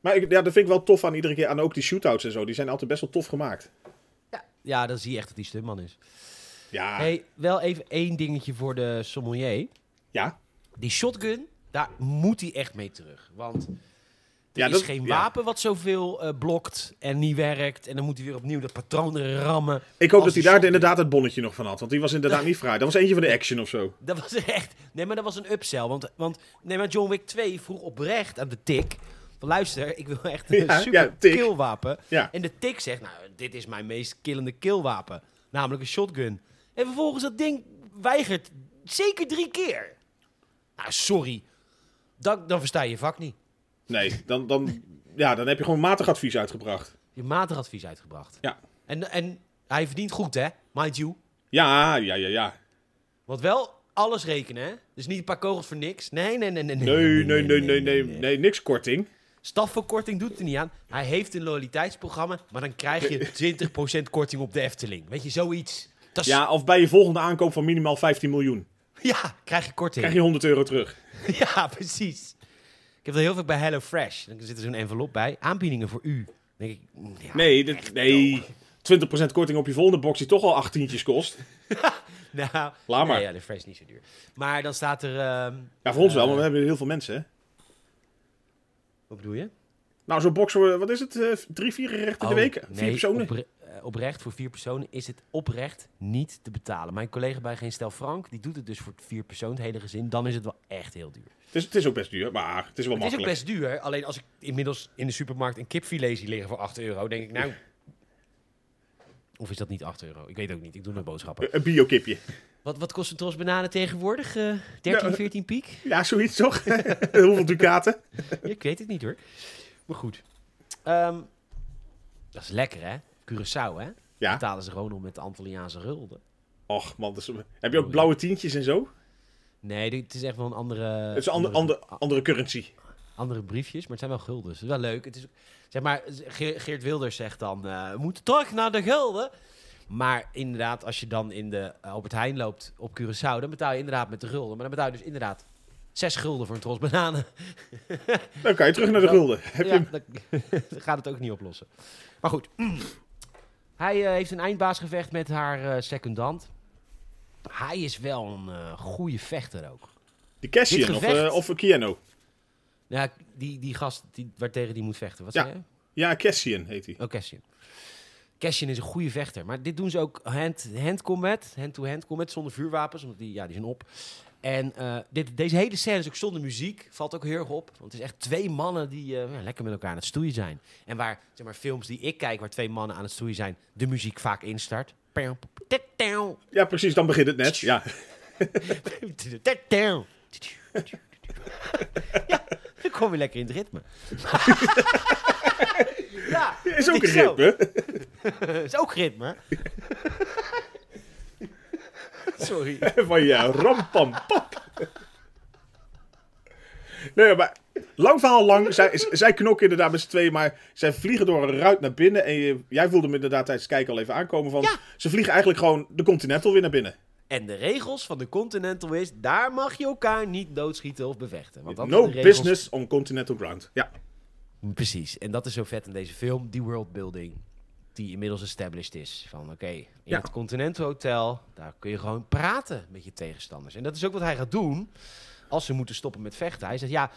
Maar ik, ja, dat vind ik wel tof aan iedere keer. Aan ook die shootouts en zo. Die zijn altijd best wel tof gemaakt. Ja. ja, dan zie je echt dat hij stuntman is. Ja, Hey, wel even één dingetje voor de sommelier. ja. Die shotgun, daar moet hij echt mee terug. Want er Ja, is dat- geen ja. wapen wat zoveel eh, blokt en niet werkt. En dan moet hij weer opnieuw dat patroon erin rammen. Ik hoop Als dat hij de daar shotgun. inderdaad het bonnetje nog van had. Want die was inderdaad niet fraai. Dat was eentje van de action of zo. Dat was [laughs] echt. Nee, maar dat was een upsell. Want, want nee, maar John Wick 2 vroeg oprecht aan de tik. Van, luister, ik wil echt een [laughs] Ja, super ja, tik. killwapen. Ja. En de tik zegt, nou, dit is mijn meest killende killwapen. namelijk een shotgun. En vervolgens dat ding weigert zeker drie keer. Nou, sorry. Dat, dan versta je je vak niet. Nee, dan, dan, ja, dan heb je gewoon matig advies uitgebracht. Je matig advies uitgebracht. Ja, En, en hij verdient goed, hè? Mind you. ja, ja, ja. ja. Want wel alles rekenen, hè? Dus niet een paar kogels voor niks. Nee, nee, nee, nee. Nee, nee, nee, nee, nee, nee, niks korting. Stafverkorting doet er niet aan. Hij heeft een loyaliteitsprogramma, maar dan krijg je 20% korting op de Efteling. Weet je, zoiets. Dat is- Ja, of bij je volgende aankoop van minimaal 15 [laughs] miljoen. ja, krijg je korting. Krijg je 100 euro terug. [laughs] Ja, precies. Ik heb dat heel vaak bij HelloFresh. Dan zit er zo'n envelop bij. Aanbiedingen voor u. Dan denk ik, mm, ja. Nee, dit, nee. 20% korting op je volgende box die toch al 8 tientjes kost. [laughs] Nou, Laat maar. Nee, HelloFresh is niet zo duur. Maar dan staat er... ehm, Ja, voor ons wel, want we hebben heel veel mensen. Hè? wat bedoel je? Oh, Nou, zo'n box, voor, wat is het? eh, drie, vier gerechten in de week? Vier nee, personen? opre- eh, oprecht, voor vier personen is het oprecht niet te betalen. Mijn collega bij Geen Stel Frank, die doet het dus voor vier personen, het hele gezin. Dan is het wel echt heel duur. Het is, het is ook best duur, maar het is wel Het is ook makkelijk. best duur. Alleen als ik inmiddels in de supermarkt een kipfilet zie liggen voor 8 euro, denk ik nou... Of is dat niet 8 euro? Ik weet het ook niet. Ik doe nog boodschappen. Een biokipje. Wat, wat kost een tros bananen tegenwoordig? Eh, 13, eh, 14 piek? Ja, zoiets toch? [laughs] Hoeveel ducaten? [laughs] ik weet het niet hoor. Maar goed. Ehm, dat is lekker hè? Curaçao hè? Ja. Betalen ze gewoon om met de Antilliaanse gulden. Och man, dat is- heb je ook blauwe tientjes en zo? Nee, dit- het is echt wel een andere... Het is een ander, andere, ander, andere currency. andere briefjes, maar het zijn wel guldens. Het is wel leuk. Het is, ook- zeg maar, Ge- Geert Wilders zegt dan, eh, we moeten terug naar de gulden. Maar inderdaad, als je dan in de eh, Albert Heijn loopt op Curaçao, dan betaal je inderdaad met de gulden. Maar dan betaal je dus inderdaad zes gulden voor een tros bananen. Dan kan je terug naar de gulden. Heb je Ja, dat dat [laughs] gaat het ook niet oplossen. Maar goed. [clears throat] Hij eh, heeft een eindbaasgevecht met haar eh, secondant. Hij is wel een eh goede vechter ook. de dit Cassian of, gevecht- eh, of een Keanu? Ja, die, die gast die, waar tegen die moet vechten. Wat Ja. zei je? Ja, Cassian heet hij. Oh, Cassian. Cassian is een goede vechter. Maar dit doen ze ook hand- hand combat. Hand-to-hand combat zonder vuurwapens. Omdat die, ja, die zijn op. En eh, dit, deze hele scène is ook zonder muziek. Valt ook heel erg op. Want het is echt twee mannen die eh, ja, lekker met elkaar aan het stoeien zijn. En waar zeg maar, films die ik kijk, waar twee mannen aan het stoeien zijn, de muziek vaak instart. Ja, precies, dan begint het net. Ja, [laughs] [laughs] Ja, dan kom je lekker in het ritme. [laughs] ja, is ook een het zo. ritme. Dat is ook [laughs] ritme. Sorry. [laughs] Van ja, rampampap. Nee, maar lang verhaal lang. Zij, z- zij knokken inderdaad met z'n tweeën, maar zij vliegen door een ruit naar binnen. En je- jij voelde hem inderdaad tijdens het kijken al even aankomen van... Ja. Ze vliegen eigenlijk gewoon de Continental weer naar binnen. En de regels van de Continental is: daar mag je elkaar niet doodschieten of bevechten. Want dat No zijn de regels- business on Continental Ground. Ja. Precies. En dat is zo vet in deze film, die worldbuilding. Die inmiddels established is. Van oké, in Ja. het Continental Hotel, daar kun je gewoon praten met je tegenstanders. En dat is ook wat hij gaat doen als ze moeten stoppen met vechten. Hij zegt ja,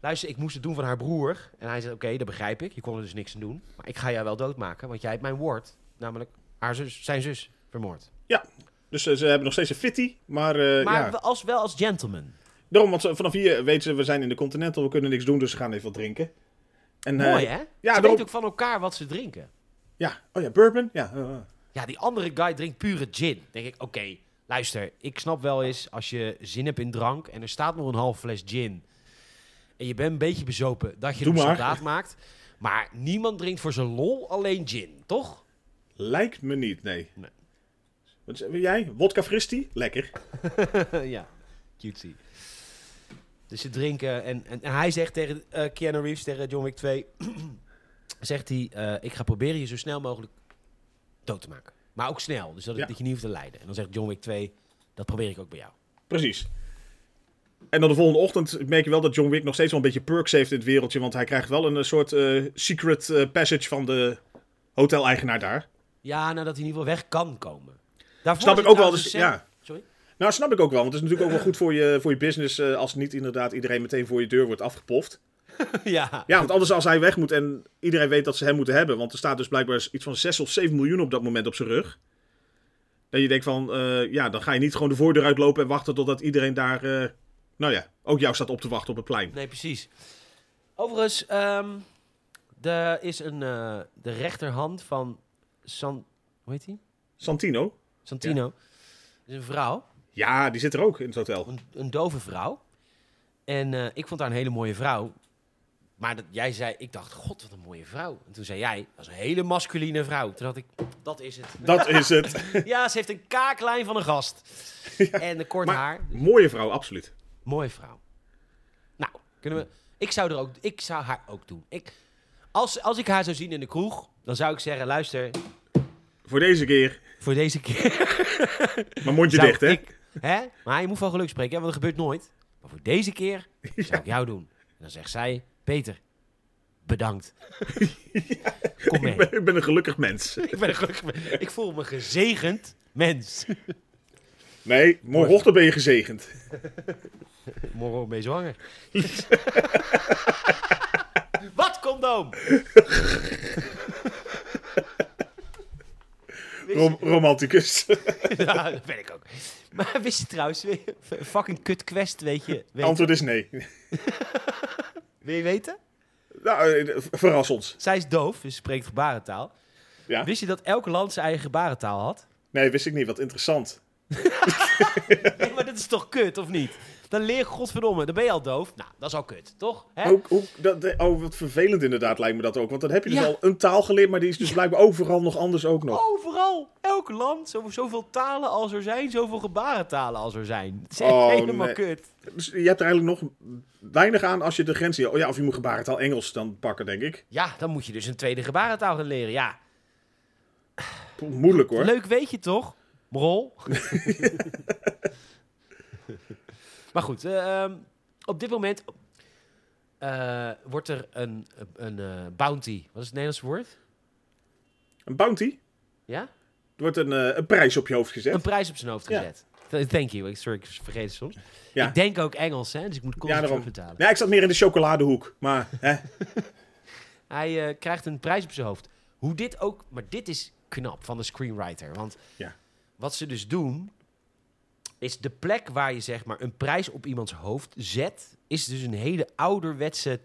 luister, ik moest het doen van haar broer. En hij zegt oké, dat begrijp ik. Je kon er dus niks aan doen. Maar ik ga jou wel doodmaken, want jij hebt mijn woord. Namelijk haar zus, zijn zus vermoord. Ja, dus eh, ze hebben nog steeds een fitty, maar, eh, Maar ja. we- als, wel als gentleman. daarom, want ze- vanaf hier weten ze, we zijn in de Continental, we kunnen niks doen, dus ze gaan even wat drinken. En, eh, Mooi hè? ze Ja, daarom, weten ook van elkaar wat ze drinken. ja, oh ja, bourbon, ja. eh, eh. Ja, die andere guy drinkt pure gin. Denk ik, oké, luister, ik snap wel eens als je zin hebt in drank en er staat nog een half fles gin. En je bent een beetje bezopen dat je Doe hem maar. soldaat maakt. Maar niemand drinkt voor zijn lol alleen gin, toch? Lijkt me niet, nee. Nee. Wat wil jij? Wodka Fristi? Lekker. ja, cutie. Dus ze drinken en, en, en hij zegt tegen eh Keanu Reeves, tegen John Wick 2, [clears throat] zegt hij, eh, ik ga proberen je zo snel mogelijk dood te maken. Maar ook snel, dus dat, Ja. dat je niet hoeft te lijden. En dan zegt John Wick 2, dat probeer ik ook bij jou. Precies. En dan de volgende ochtend merk je wel dat John Wick nog steeds wel een beetje perks heeft in het wereldje, want hij krijgt wel een eh, soort eh, secret eh, passage van de hotel-eigenaar daar. Ja, nadat hij in ieder geval weg kan komen. Daarvoor Snap zit ik ook wel, trouwens dus- een scène- ja. Sorry? [laughs] Nou, snap ik ook wel. Want het is natuurlijk ook wel goed voor je, voor je business eh, als niet inderdaad iedereen meteen voor je deur wordt afgepoft. ja. Ja, want anders als hij weg moet en iedereen weet dat ze hem moeten hebben. Want er staat dus blijkbaar iets van 6 of 7 miljoen op dat moment op zijn rug. Dat je denkt van, eh, ja, dan ga je niet gewoon de voordeur uitlopen en wachten totdat iedereen daar, eh, nou ja, ook jou staat op te wachten op het plein. Nee, precies. Overigens, ehm er is een, eh, de rechterhand van San... Hoe heet hij? Santino. Santino. is een vrouw, Ja, die zit er ook in het hotel. een, een dove vrouw. En eh, ik vond haar een hele mooie vrouw. Maar dat, jij zei, ik dacht, god, wat een mooie vrouw. En toen zei jij, dat is een hele masculine vrouw. Toen dacht ik, dat is [laughs] het. Dat is [laughs] het. Ja, ze heeft een kaaklijn van een gast. En een kort Maar, haar. mooie vrouw, absoluut. Mooie vrouw. Nou, kunnen we... Ik zou, er ook, ik zou haar ook doen. Ik, als, als ik haar zou zien in de kroeg, dan zou ik zeggen, luister, Voor deze keer. voor deze [laughs] keer... Maar mondje zou dicht, hè? ik- hè? Maar je moet van geluk spreken, hè, want dat gebeurt nooit. Maar voor deze [laughs] keer zou ik jou doen. En dan zegt zij, Peter, bedankt. [laughs] Kom mee. [laughs] Ik ben, ik ben een gelukkig [laughs] mens. Ik, ben een gelukkig- ik voel me gezegend [laughs] mens. Nee, morgenochtend ben je gezegend. Morgen ben je [laughs] zwanger. Wat condoom? Rom- romanticus. [laughs] ja, dat ben ik ook. Maar wist je trouwens, weer, fucking kut quest, weet je. Weet, Antwoord is nee. wil je weten? Nou, eh, verras ons. Zij is doof, dus ze spreekt gebarentaal. Ja? Wist je dat elk land zijn eigen gebarentaal had? Nee, wist ik niet. Wat interessant. Nee, maar dat is toch kut, of niet? Dan leer je godverdomme, dan ben je al doof. Nou, dat is al kut, toch? Hè? Ook, ook, dat, eh, oh, wat vervelend inderdaad lijkt me dat ook. Want dan heb je dus Ja. Oh. al een taal geleerd, maar die is dus blijkbaar overal nog anders ook nog. Overal, elk land, zo, zoveel talen als er zijn, zoveel gebarentalen als er zijn. Het is echt Oh, [laughs] helemaal nee. kut. Dus je hebt er eigenlijk nog weinig aan als je de grens... Oh ja, of je moet gebarentaal Engels dan pakken, denk ik. Ja, dan moet je dus een tweede gebarentaal gaan leren, ja. Poeh, Moeilijk hoor. Leuk weet je toch? [laughs] Brol. maar goed, eh, ehm, op dit moment eh, wordt er een, een eh, bounty. Wat is het Nederlands woord? Een bounty? Ja? Er wordt een, eh, een prijs op je hoofd gezet. Een prijs op zijn hoofd Ja. gezet. Th- Thank you. Ik- Sorry, ik vergeet het soms. Ja. Ik denk ook Engels, hè? Dus ik moet Ja, constant daarom. betalen. Ja, ik zat meer in de chocoladehoek. Maar hè, Hij eh, krijgt een prijs op zijn hoofd. Hoe dit ook... Maar dit is knap van de screenwriter. Want Ja. wat ze dus doen... is de plek waar je zeg maar een prijs op iemands hoofd zet... is dus een hele ouderwetse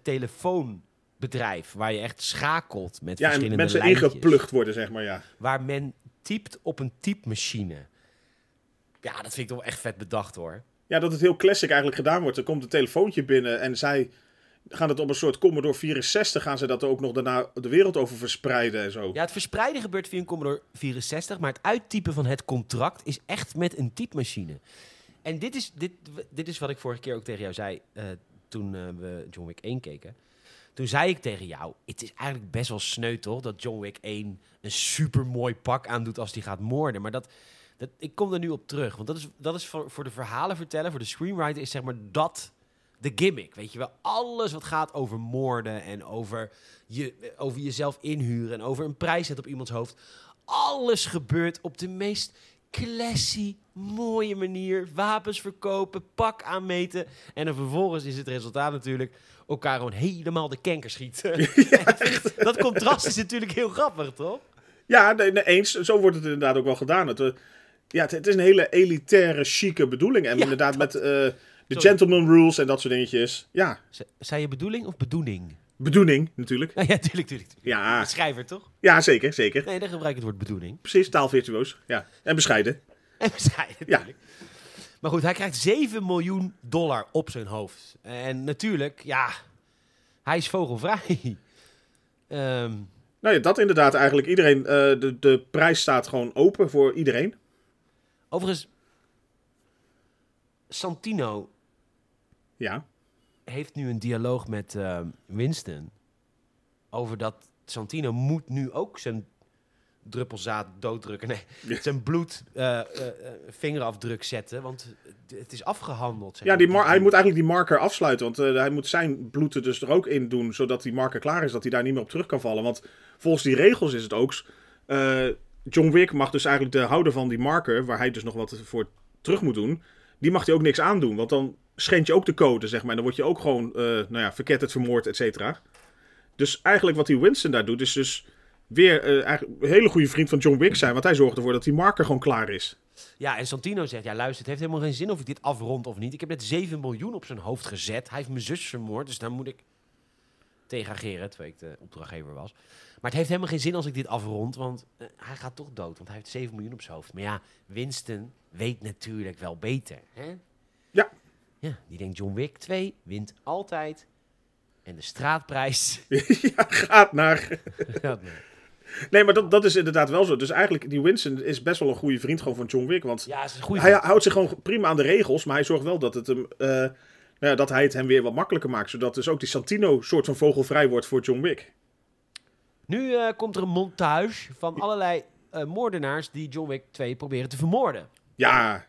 telefoonbedrijf... waar je echt schakelt met ja, en verschillende mensen lijntjes. ingeplucht worden, zeg maar. Ja. Waar men typt op een typemachine. Ja, dat vind ik toch wel echt vet bedacht, hoor. ja, dat het heel classic eigenlijk gedaan wordt. Er komt een telefoontje binnen en zij gaan het op een soort Commodore 64... gaan ze dat ook nog daarna de wereld over verspreiden en zo. Ja, het verspreiden gebeurt via een Commodore 64, maar het uittypen van het contract is echt met een typemachine. En dit is, dit, dit is wat ik vorige keer ook tegen jou zei eh, toen eh, we John Wick 1 keken. Toen zei ik tegen jou, het is eigenlijk best wel sneu toch dat John Wick 1 een supermooi pak aandoet als hij gaat moorden. Maar dat, dat, ik kom er nu op terug, want dat is, dat is voor, voor de verhalen vertellen, voor de screenwriter is zeg maar dat de gimmick. Weet je wel, alles wat gaat over moorden en over, je, eh, over jezelf inhuren en over een prijs zetten op iemands hoofd. Alles gebeurt op de meest classy, mooie manier. Wapens verkopen, pak aanmeten. En dan vervolgens is het resultaat natuurlijk elkaar gewoon helemaal de kanker schieten. dat contrast is natuurlijk heel grappig, toch? Ja, nee, nee, eens. Zo wordt het inderdaad ook wel gedaan. Het, eh, ja, het, het is een hele elitaire, chique bedoeling. En Ja, inderdaad met eh, de Sorry. gentleman rules en dat soort dingetjes. Ja, Z- Zei je bedoeling of bedoening? bedoeling natuurlijk. Nou Ja, tuurlijk, tuurlijk. tuurlijk. Ja, Schrijver, toch? ja zeker, zeker. Nee, dan gebruik ik het woord bedoeling. Precies, taalvirtuoos. Ja, en [laughs] bescheiden. En bescheiden Ja. natuurlijk. Maar goed, hij krijgt 7 miljoen dollar op zijn hoofd. En natuurlijk, ja, hij is vogelvrij. [laughs] Ehm, Nou ja, dat inderdaad eigenlijk. Iedereen, eh, de, de prijs staat gewoon open voor iedereen. overigens, Santino Ja, heeft nu een dialoog met ehm, Winston over dat Santino moet nu ook zijn druppelzaad dooddrukken. [laughs] Nee, zijn bloed eh, eh, eh, vingerafdruk zetten, want het- het is afgehandeld. zeg ja maar. die mar- hij moet eigenlijk die marker afsluiten. Want eh, hij moet zijn bloed er dus er ook in doen. Zodat die marker klaar is. Dat hij daar niet meer op terug kan vallen. Want volgens die regels is het ook. eh, John Wick mag dus eigenlijk de houder van die marker. Waar hij dus nog wat voor terug moet doen. Die mag hij ook niks aandoen. Want dan schend je ook de code, zeg maar. En dan word je ook gewoon, eh nou ja, verketterd, vermoord, et cetera. Dus eigenlijk wat die Winston daar doet. Is dus weer eh, eigenlijk een hele goede vriend van John Wick zijn. Want hij zorgt ervoor dat die marker gewoon klaar is. [laughs] Ja, en Santino zegt, ja luister, het heeft helemaal geen zin of ik dit afrond of niet. Ik heb net 7 miljoen op zijn hoofd gezet. Hij heeft mijn zus vermoord, dus daar moet ik... Tegen Gerrit, waar ik de opdrachtgever was. Maar het heeft helemaal geen zin als ik dit afrond, want eh, hij gaat toch dood. Want hij heeft 7 miljoen op zijn hoofd. Maar ja, Winston weet natuurlijk wel beter. Hè? Ja, Ja, die denkt John Wick 2 wint altijd. En de straatprijs. ja gaat naar. gaat mee. Nee, maar dat, dat is inderdaad wel zo. Dus eigenlijk, die Winston is best wel een goede vriend gewoon van John Wick. Want ja, is een goede hij houdt zich gewoon prima aan de regels, maar hij zorgt wel dat, het hem, eh, nou ja, dat hij het hem weer wat makkelijker maakt. Zodat dus ook die Santino soort van vogelvrij wordt voor John Wick. Nu eh, komt er een montage van allerlei eh, moordenaars die John Wick 2 proberen te vermoorden. Ja,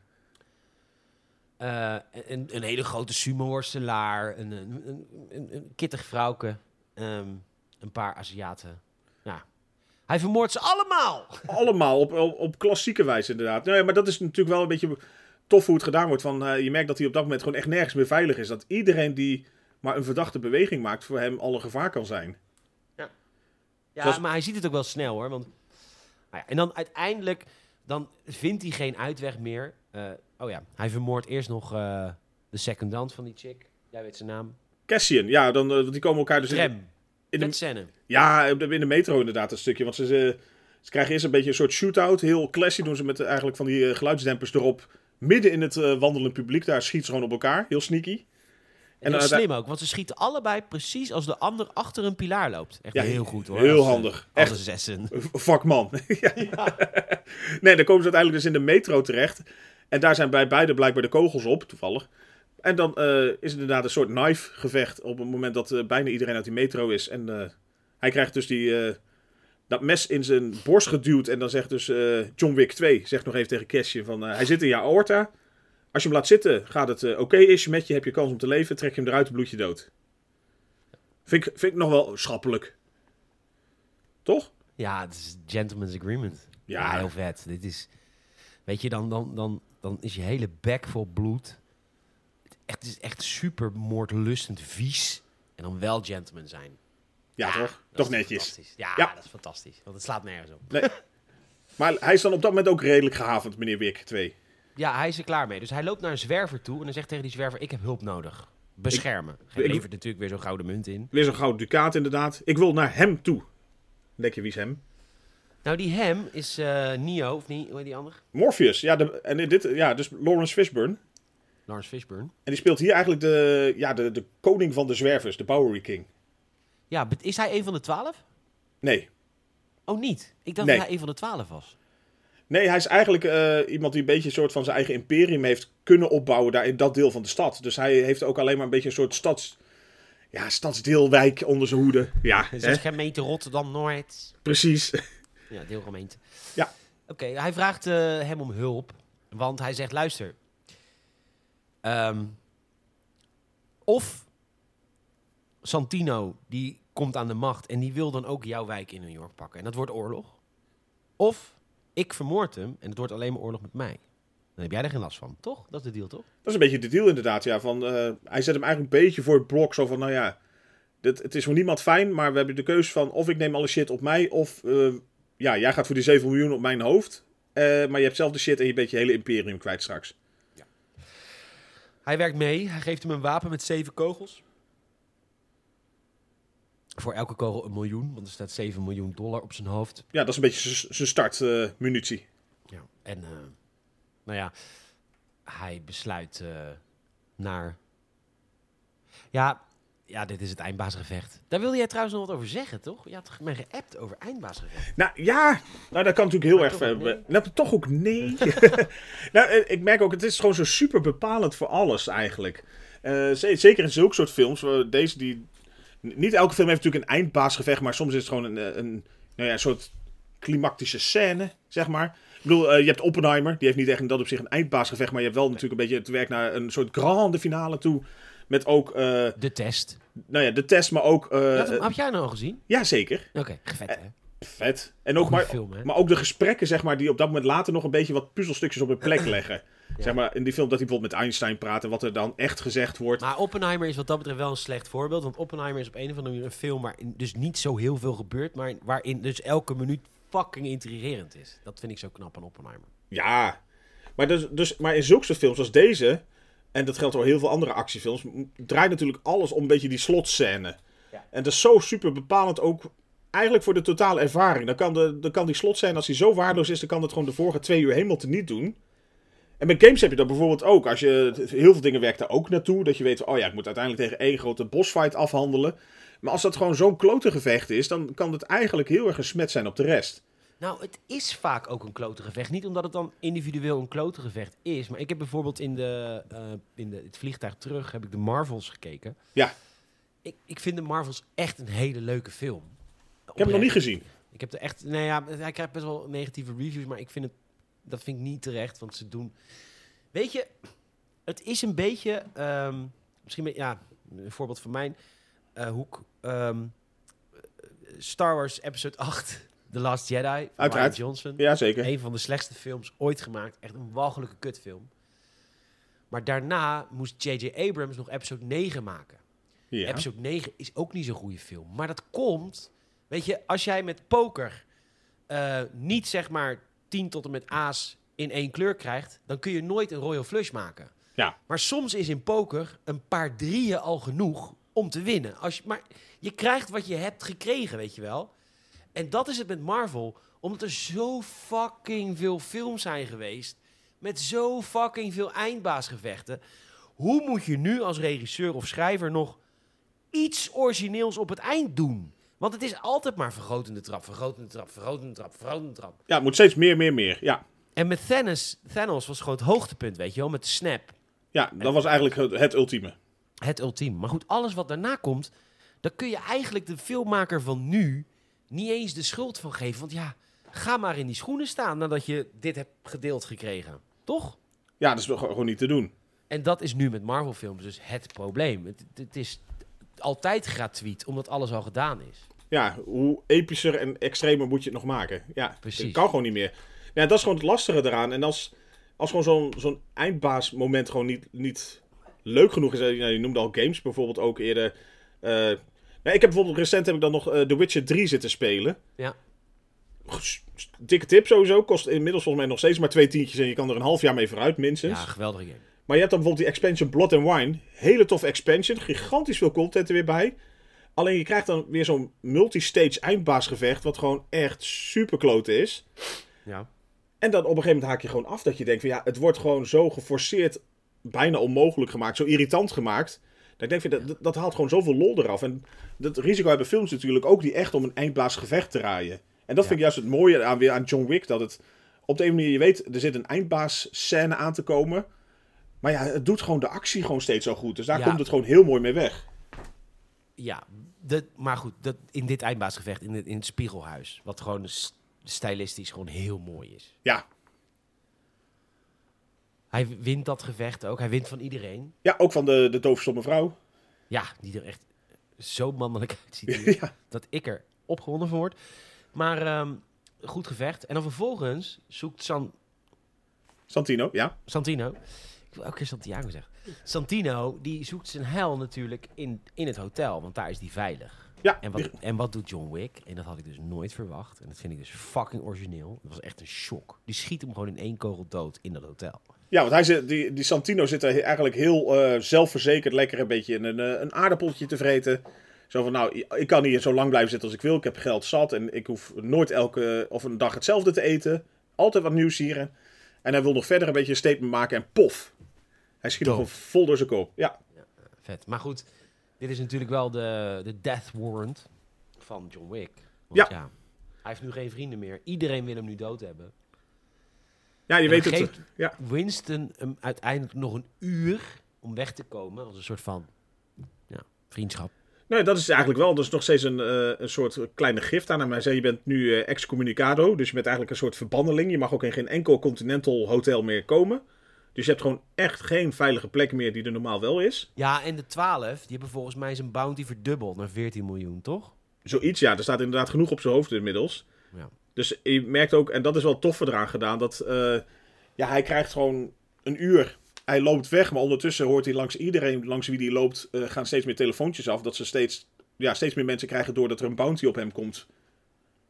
Eh, een, een hele grote sumo-worstelaar, een, een, een, een, een kittig vrouwke, ehm, een paar Aziaten. Ja. Hij vermoordt ze allemaal! allemaal op, op, op klassieke wijze inderdaad. Nou ja, maar dat is natuurlijk wel een beetje tof hoe het gedaan wordt. Van, eh, je merkt dat hij op dat moment gewoon echt nergens meer veilig is. Dat iedereen die maar een verdachte beweging maakt, voor hem alle gevaar kan zijn. Ja, Zoals- maar hij ziet het ook wel snel hoor. Want, nou ja, en dan uiteindelijk dan vindt hij geen uitweg meer. Eh, oh ja, hij vermoordt eerst nog eh, de secondant van die chick. Jij weet zijn naam. Cassian, ja, dan, eh, want die komen elkaar dus in de- Rem. in de, Met scène. Ja, in de metro inderdaad, dat stukje. Want ze, ze, ze krijgen eerst een beetje een soort shootout. Heel classy doen ze met eh, eigenlijk van die eh, geluidsdempers erop. Midden in het eh, wandelend publiek, daar schieten ze gewoon op elkaar. Heel sneaky. En En dat dan is slim ook, want ze schieten allebei precies als de ander achter een pilaar loopt. Echt Ja, heel goed hoor. heel Als, eh, handig. Als Echt. een zessen. Fuck man. [laughs] ja. Nee, dan komen ze uiteindelijk dus in de metro terecht. En daar zijn bij beide blijkbaar de kogels op, toevallig. En dan eh, is het inderdaad een soort knife gevecht op het moment dat eh, bijna iedereen uit die metro is. En eh, hij krijgt dus die, eh, dat mes in zijn borst geduwd. En dan zegt dus eh, John Wick 2, zegt nog even tegen Cashje van eh, hij zit in je aorta. Als je hem laat zitten, gaat het eh, oké is met je, heb je kans om te leven. Trek je hem eruit, bloed je dood. Vind ik, vind ik nog wel schappelijk. Toch? Ja, het is gentleman's agreement. Ja. Ja. heel vet. Dit is, weet je, dan, dan, dan, dan is je hele bek vol bloed. Het echt- het is echt super moordlustend vies. En dan wel gentleman zijn. Ja, toch? Dat Toch is netjes. fantastisch. Ja, Ja. dat is fantastisch. Want het slaat nergens op. [laughs] Nee. Maar hij is dan op dat moment ook redelijk gehavend, meneer Wick 2. Ja, hij is er klaar mee. Dus hij loopt naar een zwerver toe en dan zegt tegen die zwerver: Ik heb hulp nodig. Beschermen. Hij ik- levert natuurlijk weer zo'n gouden munt in. Weer zo'n gouden ducaat inderdaad. Ik wil naar hem toe. Dan Denk je, wie is hem? Nou, die hem is eh Nio, of niet? Hoe heet die ander? Morpheus. Ja, de, en in dit, ja, dus Lawrence Fishburne. Lawrence Fishburne. En die speelt hier eigenlijk de, ja, de, de koning van de zwervers, de Bowery King. Ja, bet- is hij een van de twaalf? Nee. Oh, niet. Ik dacht Nee. dat hij een van de twaalf was. Nee, hij is eigenlijk eh, iemand die een beetje een soort van zijn eigen imperium heeft kunnen opbouwen daar in dat deel van de stad. Dus hij heeft ook alleen maar een beetje een soort stads, ja, stadsdeelwijk onder zijn hoede. Ja, Dus hè? dat is gemeente Rotterdam-Noord. precies. Ja, deelgemeente. Ja. Oké, hij vraagt eh, hem om hulp. Want hij zegt, luister. ehm, of Santino, die komt aan de macht en die wil dan ook jouw wijk in New York pakken. En dat wordt oorlog. Of ik vermoord hem en het wordt alleen maar oorlog met mij. Dan heb jij er geen last van, toch? Dat is de deal, toch? Dat is een beetje de deal inderdaad, ja. Van, eh, hij zet hem eigenlijk een beetje voor het blok. Zo van, nou ja, dit, het is voor niemand fijn, maar we hebben de keuze van... of ik neem alle shit op mij, of eh, ja, jij gaat voor die 7 miljoen op mijn hoofd. eh, maar je hebt zelf de shit en je bent je hele imperium kwijt straks. Hij werkt mee. Hij geeft hem een wapen met zeven kogels. Voor elke kogel een miljoen, want er staat 7 miljoen dollar op zijn hoofd. Ja, dat is een beetje zijn startmunitie. Ja. En, eh, nou ja, hij besluit eh, naar. Ja, ja, dit is het eindbaasgevecht. Daar wilde jij trouwens nog wat over zeggen, toch? Je had mij geappt over eindbaasgevecht. Nou ja, nou, dat kan natuurlijk heel erg toch ook ver. nee? Nou, toch ook nee. [laughs] nou, eh, ik merk ook, het is gewoon zo super bepalend voor alles eigenlijk. Eh, ze- zeker in zulke soort films. eh, Deze die. Niet elke film heeft natuurlijk een eindbaasgevecht, maar soms is het gewoon een, eh, een, nou ja, een soort klimactische scène, zeg maar. Ik bedoel, eh, je hebt Oppenheimer, die heeft niet echt in dat op zich een eindbaasgevecht, maar je hebt wel natuurlijk een beetje het werk naar een soort grande finale toe. Met ook, eh, De test. nou ja, de test, maar ook. eh, had, hem- eh, had jij nou al gezien? ja, zeker. Oké, vet hè? Vet. En ook maar, film, hè? maar ook de gesprekken, zeg maar, die op dat moment later nog een beetje wat puzzelstukjes op hun [clears throat] plek leggen. Zeg maar, in die film dat hij bijvoorbeeld met Einstein praat en wat er dan echt gezegd wordt. Maar Oppenheimer is wat dat betreft wel een slecht voorbeeld. Want Oppenheimer is op een of andere manier een film waarin dus niet zo heel veel gebeurt. Maar waarin dus elke minuut fucking intrigerend is. Dat vind ik zo knap aan Oppenheimer. Ja. Maar, dus, dus, maar in zulke soort films als deze, en dat geldt voor heel veel andere actiefilms, m- draait natuurlijk alles om een beetje die slotscène. Ja. En dat is zo super bepalend ook eigenlijk voor de totale ervaring. Dan kan, de, dan kan die slot zijn, als hij zo waardeloos is, dan kan het gewoon de vorige twee uur helemaal teniet doen. En met games heb je dat bijvoorbeeld ook. Als je, heel veel dingen werkt daar ook naartoe. Dat je weet, van, oh ja, ik moet uiteindelijk tegen één grote bossfight afhandelen. Maar als dat gewoon zo'n klote gevecht is, dan kan het eigenlijk heel erg een smet zijn op de rest. Nou, het is vaak ook een klote gevecht. Niet omdat het dan individueel een klote gevecht is. Maar ik heb bijvoorbeeld in, de, eh, in de, het vliegtuig terug heb ik de Marvels gekeken. Ja. Ik, ik vind de Marvels echt een hele leuke film. Ik heb het nog niet gezien. Ik heb er echt... Nou ja, hij krijgt best wel negatieve reviews. Maar ik vind het... Dat vind ik niet terecht. Want ze doen... Weet je... Het is een beetje... ehm, misschien... Een, ja, een voorbeeld van mijn eh, hoek. ehm, Star Wars Episode 8. [laughs] The Last Jedi. van Ryan Uiteraard. Johnson. Jazeker. Een van de slechtste films ooit gemaakt. Echt een walgelijke kutfilm. Maar daarna moest J.J. Abrams nog episode 9 maken. Ja. Episode 9 is ook niet zo'n goede film. Maar dat komt... Weet je, als jij met poker eh, niet zeg maar 10 tot en met aas in één kleur krijgt... dan kun je nooit een royal flush maken. Ja. Maar soms is in poker een paar drieën al genoeg om te winnen. Als je, maar je krijgt wat je hebt gekregen, weet je wel. En dat is het met Marvel. Omdat er zo fucking veel films zijn geweest. Met zo fucking veel eindbaasgevechten. Hoe moet je nu als regisseur of schrijver nog iets origineels op het eind doen? Want het is altijd maar vergrotende trap, vergrotende trap, vergrotende trap, vergrotende trap. ja, het moet steeds meer, meer, meer. Ja. En met Thanos, Thanos was gewoon het hoogtepunt, weet je wel, met de snap. Ja, dat was eigenlijk het, het ultieme. het ultieme. Maar goed, alles wat daarna komt, daar kun je eigenlijk de filmmaker van nu niet eens de schuld van geven. Want ja, ga maar in die schoenen staan nadat je dit hebt gedeeld gekregen. Toch? Ja, dat is nog gewoon niet te doen. En dat is nu met Marvel-films dus het probleem. Het, het is altijd gratuit, omdat alles al gedaan is. Ja, hoe epischer en extremer moet je het nog maken? Ja, Precies. Het kan gewoon niet meer. Ja, dat is gewoon het lastige eraan. En als, als gewoon zo'n zo'n eindbaasmoment gewoon niet, niet leuk genoeg is. eh, Nou, je noemde al games bijvoorbeeld ook eerder. Eh, nou, ik heb bijvoorbeeld recent heb ik dan nog eh, The Witcher 3 zitten spelen. Ja. Gus- Dikke tip sowieso. Kost inmiddels volgens mij nog steeds maar twee tientjes. En je kan er een half jaar mee vooruit minstens. Ja, geweldige game. Maar je hebt dan bijvoorbeeld die expansion Blood and Wine. Hele tof expansion. Gigantisch veel content er weer bij. Alleen je krijgt dan weer zo'n multi-stage eindbaasgevecht. Wat gewoon echt super is. Ja. En dan op een gegeven moment haak je gewoon af. Dat je denkt van ja, het wordt gewoon zo geforceerd. Bijna onmogelijk gemaakt. Zo irritant gemaakt. Dat ik denk van dat, dat haalt gewoon zoveel lol eraf. En dat risico hebben films natuurlijk ook. Die echt om een eindbaasgevecht draaien. En dat vind ik juist het mooie aan, weer aan John Wick. Dat het op de een manier, je weet, er zit een eindbaas-scène aan te komen. Maar ja, het doet gewoon de actie gewoon steeds zo goed. Dus daar Ja. komt het gewoon heel mooi mee weg. Ja, dat, maar goed, dat, in dit eindbaasgevecht, in, het- in het Spiegelhuis. Wat gewoon s- stylistisch gewoon heel mooi is. Ja, Hij wint dat gevecht ook. Hij wint van iedereen. ja ook van de, de doofstomme vrouw. Ja, die er echt zo mannelijk [laughs] uitziet. hier. ja. dat ik er opgewonden van word. Maar ehm, goed gevecht. En dan vervolgens zoekt San, Santino, ja. Santino. Ik wil elke keer Santiago zeggen. Santino, die zoekt zijn heil natuurlijk in, in het hotel, want daar is die veilig. Ja, En wat, en wat doet John Wick? En dat had ik dus nooit verwacht. En dat vind ik dus fucking origineel. Dat was echt een shock. Die schiet hem gewoon in één kogel dood in dat hotel. ja want hij zit, die, die Santino zit er he- eigenlijk heel eh, zelfverzekerd lekker een beetje in een, eh, een aardappeltje te vreten. Zo van, nou, ik kan hier zo lang blijven zitten als ik wil. Ik heb geld zat en ik hoef nooit elke of een dag hetzelfde te eten. Altijd wat nieuws hier. En hij wil nog verder een beetje een statement maken en pof. Hij schiet hem Doof. gewoon vol door zijn kop. Ja, Vet. Maar goed, dit is natuurlijk wel de, de death warrant van John Wick. Ja. Want ja. Hij heeft nu geen vrienden meer. Iedereen wil hem nu dood hebben. ja je En weet dan het. geeft- eh, Ja. Winston hem uiteindelijk nog een uur om weg te komen. Als een soort van ja, vriendschap. Nee, dat is eigenlijk wel. Dat is nog steeds een, eh, een soort kleine gift aan hem. Hij zei, je bent nu eh, excommunicado. Dus je bent eigenlijk een soort verbandeling. Je mag ook in geen enkel continental hotel meer komen. Dus je hebt gewoon echt geen veilige plek meer die er normaal wel is. Ja, en de 12, die hebben volgens mij zijn bounty verdubbeld naar 14 miljoen, toch? Zoiets, ja. Er staat inderdaad genoeg op zijn hoofd inmiddels. Ja. Dus je merkt ook, en dat is wel tof eraan gedaan, dat eh, ja, hij krijgt gewoon een uur. Hij loopt weg, maar ondertussen hoort hij langs iedereen, langs wie die loopt, eh, gaan steeds meer telefoontjes af. Dat ze steeds, ja, steeds meer mensen krijgen doordat er een bounty op hem komt.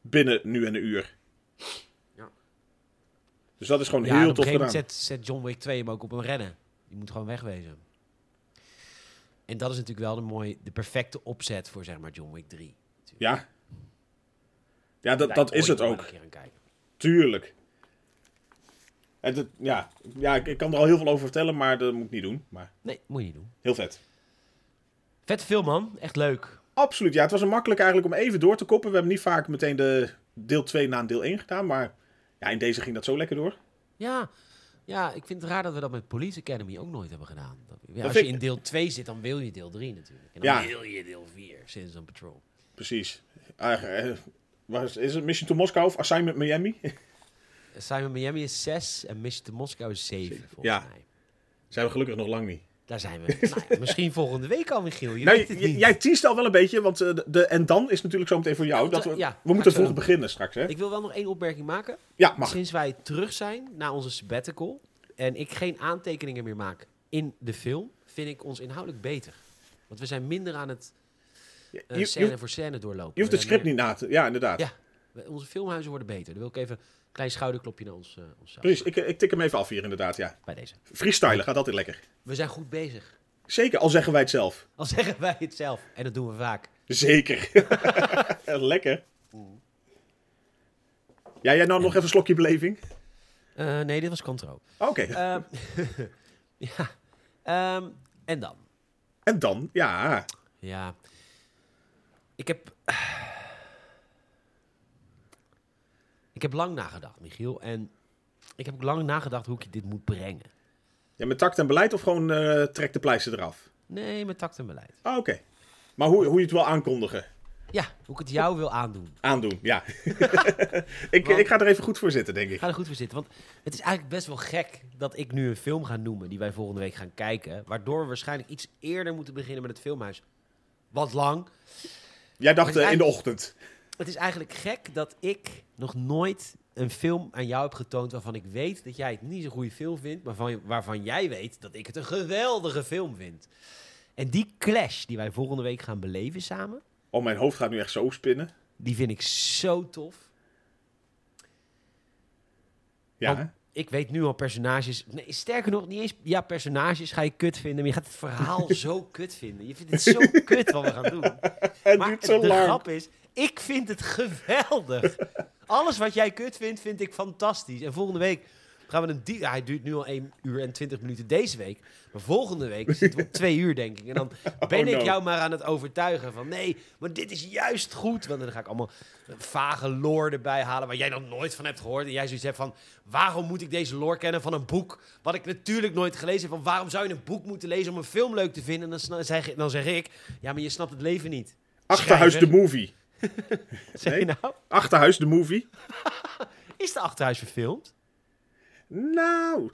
Binnen nu en een uur. Ja. Dus dat is gewoon Ja, en heel op een tof gegeven gedaan. moment zet, zet John Week 2 hem ook op een rennen. Die moet gewoon wegwezen. En dat is natuurlijk wel de, mooie, de perfecte opzet voor zeg maar John Wick 3. Ja. Ja, dat, dat is het ook. kijken. Tuurlijk. En dat- ja, ja ik, ik kan er al heel veel over vertellen, maar dat moet ik niet doen. Maar Nee, moet je niet doen. heel vet. Vette film, man. Echt leuk. Absoluut, ja. Het was een makkelijk eigenlijk om even door te koppen. We hebben niet vaak meteen de deel 2 na een deel 1 gedaan, maar ja, in deze ging dat zo lekker door. Ja. ja, ik vind het raar dat we dat met Police Academy ook nooit hebben gedaan. Dat- ja, als vind je ik- in deel 2 zit, dan wil je deel 3 natuurlijk. En dan Ja. wil je deel 4, Citizen Patrol. Precies. Eh, eh, waar is, is het Mission to Moscow of Assignment Miami? [laughs] Simon Miami is 6 en Mission to Moscow is 7, volgens Ja. mij. Zijn we gelukkig nog lang niet. Daar zijn we. [laughs] Nou ja, misschien volgende week al, Michiel. Je Nou, weet het j- niet. jij teest al wel een beetje, want eh, de, de en dan is natuurlijk zo meteen voor jou. Ja, Dat want, we, eh, ja, we ga ik moeten zo vroeg doen. beginnen straks, hè? Ik wil wel nog één opmerking maken. Ja, mag. Sinds wij terug zijn na onze sabbatical en ik geen aantekeningen meer maak in de film, vind ik ons inhoudelijk beter. Want we zijn minder aan het Je, eh, je- je scène hoeft- voor scène doorlopen. je hoeft het We script zijn niet na te... Ja, inderdaad. meer- Ja, we- onze filmhuizen worden beter. Daar wil ik even een klein schouderklopje naar ons, eh ons zaak Precies, ik, ik tik hem even af hier inderdaad, ja. bij deze. Freestylen gaat altijd lekker. We zijn goed bezig. Zeker, al zeggen wij het zelf. Al zeggen wij het zelf. En dat doen we vaak. Zeker. [laughs] lekker. Ja, jij nou nog even een slokje beleving? Eh, Eh, nee, dit was Contro. Oké. Ehm, [laughs] ja. Ehm, en dan? en dan, ja. Ja. Ik heb. [sighs] Ik heb lang nagedacht, Michiel. En ik heb ook lang nagedacht hoe ik dit moet brengen. ja. Met tact en beleid of gewoon eh, trek de pleister eraf? Nee, met tact en beleid. Ah, Oké. Maar hoe, hoe je het wil aankondigen. Ja, hoe ik het jou wil aandoen. Aandoen, ja. [laughs] ik, Want- ik ga er even goed voor zitten, denk ik. Ga er goed voor zitten. Want het is eigenlijk best wel gek dat ik nu een film ga noemen die wij volgende week gaan kijken. Waardoor we waarschijnlijk iets eerder moeten beginnen met het filmhuis. Wat lang. Jij dacht Maar eh, in de ochtend. Het is eigenlijk gek dat ik nog nooit een film aan jou heb getoond waarvan ik weet dat jij het niet zo'n goede film vindt, maar van, waarvan jij weet dat ik het een geweldige film vind. En die clash die wij volgende week gaan beleven samen, Oh, mijn hoofd gaat nu echt zo spinnen. die vind ik zo tof. Ja. Want ik weet nu al personages. Nee, sterker nog, niet eens. Ja, personages ga je kut vinden. Maar je gaat het verhaal zo kut vinden. Je vindt het zo kut wat we gaan doen. het maar duurt zo de lang. grap is, ik vind het [laughs] geweldig. Alles wat jij kut vindt, vind ik fantastisch. En volgende week gaan we een... die- Ja, hij duurt nu al 1 uur en 20 minuten deze week. Maar volgende week zitten [laughs] we op 2 uur, denk ik. En dan ben Oh, no. ik jou maar aan het overtuigen van... Nee, maar dit is juist goed. Want dan ga ik allemaal vage lore erbij halen... waar jij dan nooit van hebt gehoord. En jij zoiets hebt van... Waarom moet ik deze lore kennen van een boek... wat ik natuurlijk nooit gelezen heb? Van waarom zou je een boek moeten lezen om een film leuk te vinden? En dan, sna- zeg, dan zeg ik... Ja, maar je snapt het leven niet. Achterhuis de Schrijver. movie. Zeg je nou? Achterhuis de movie. Is de Achterhuis verfilmd? Nou.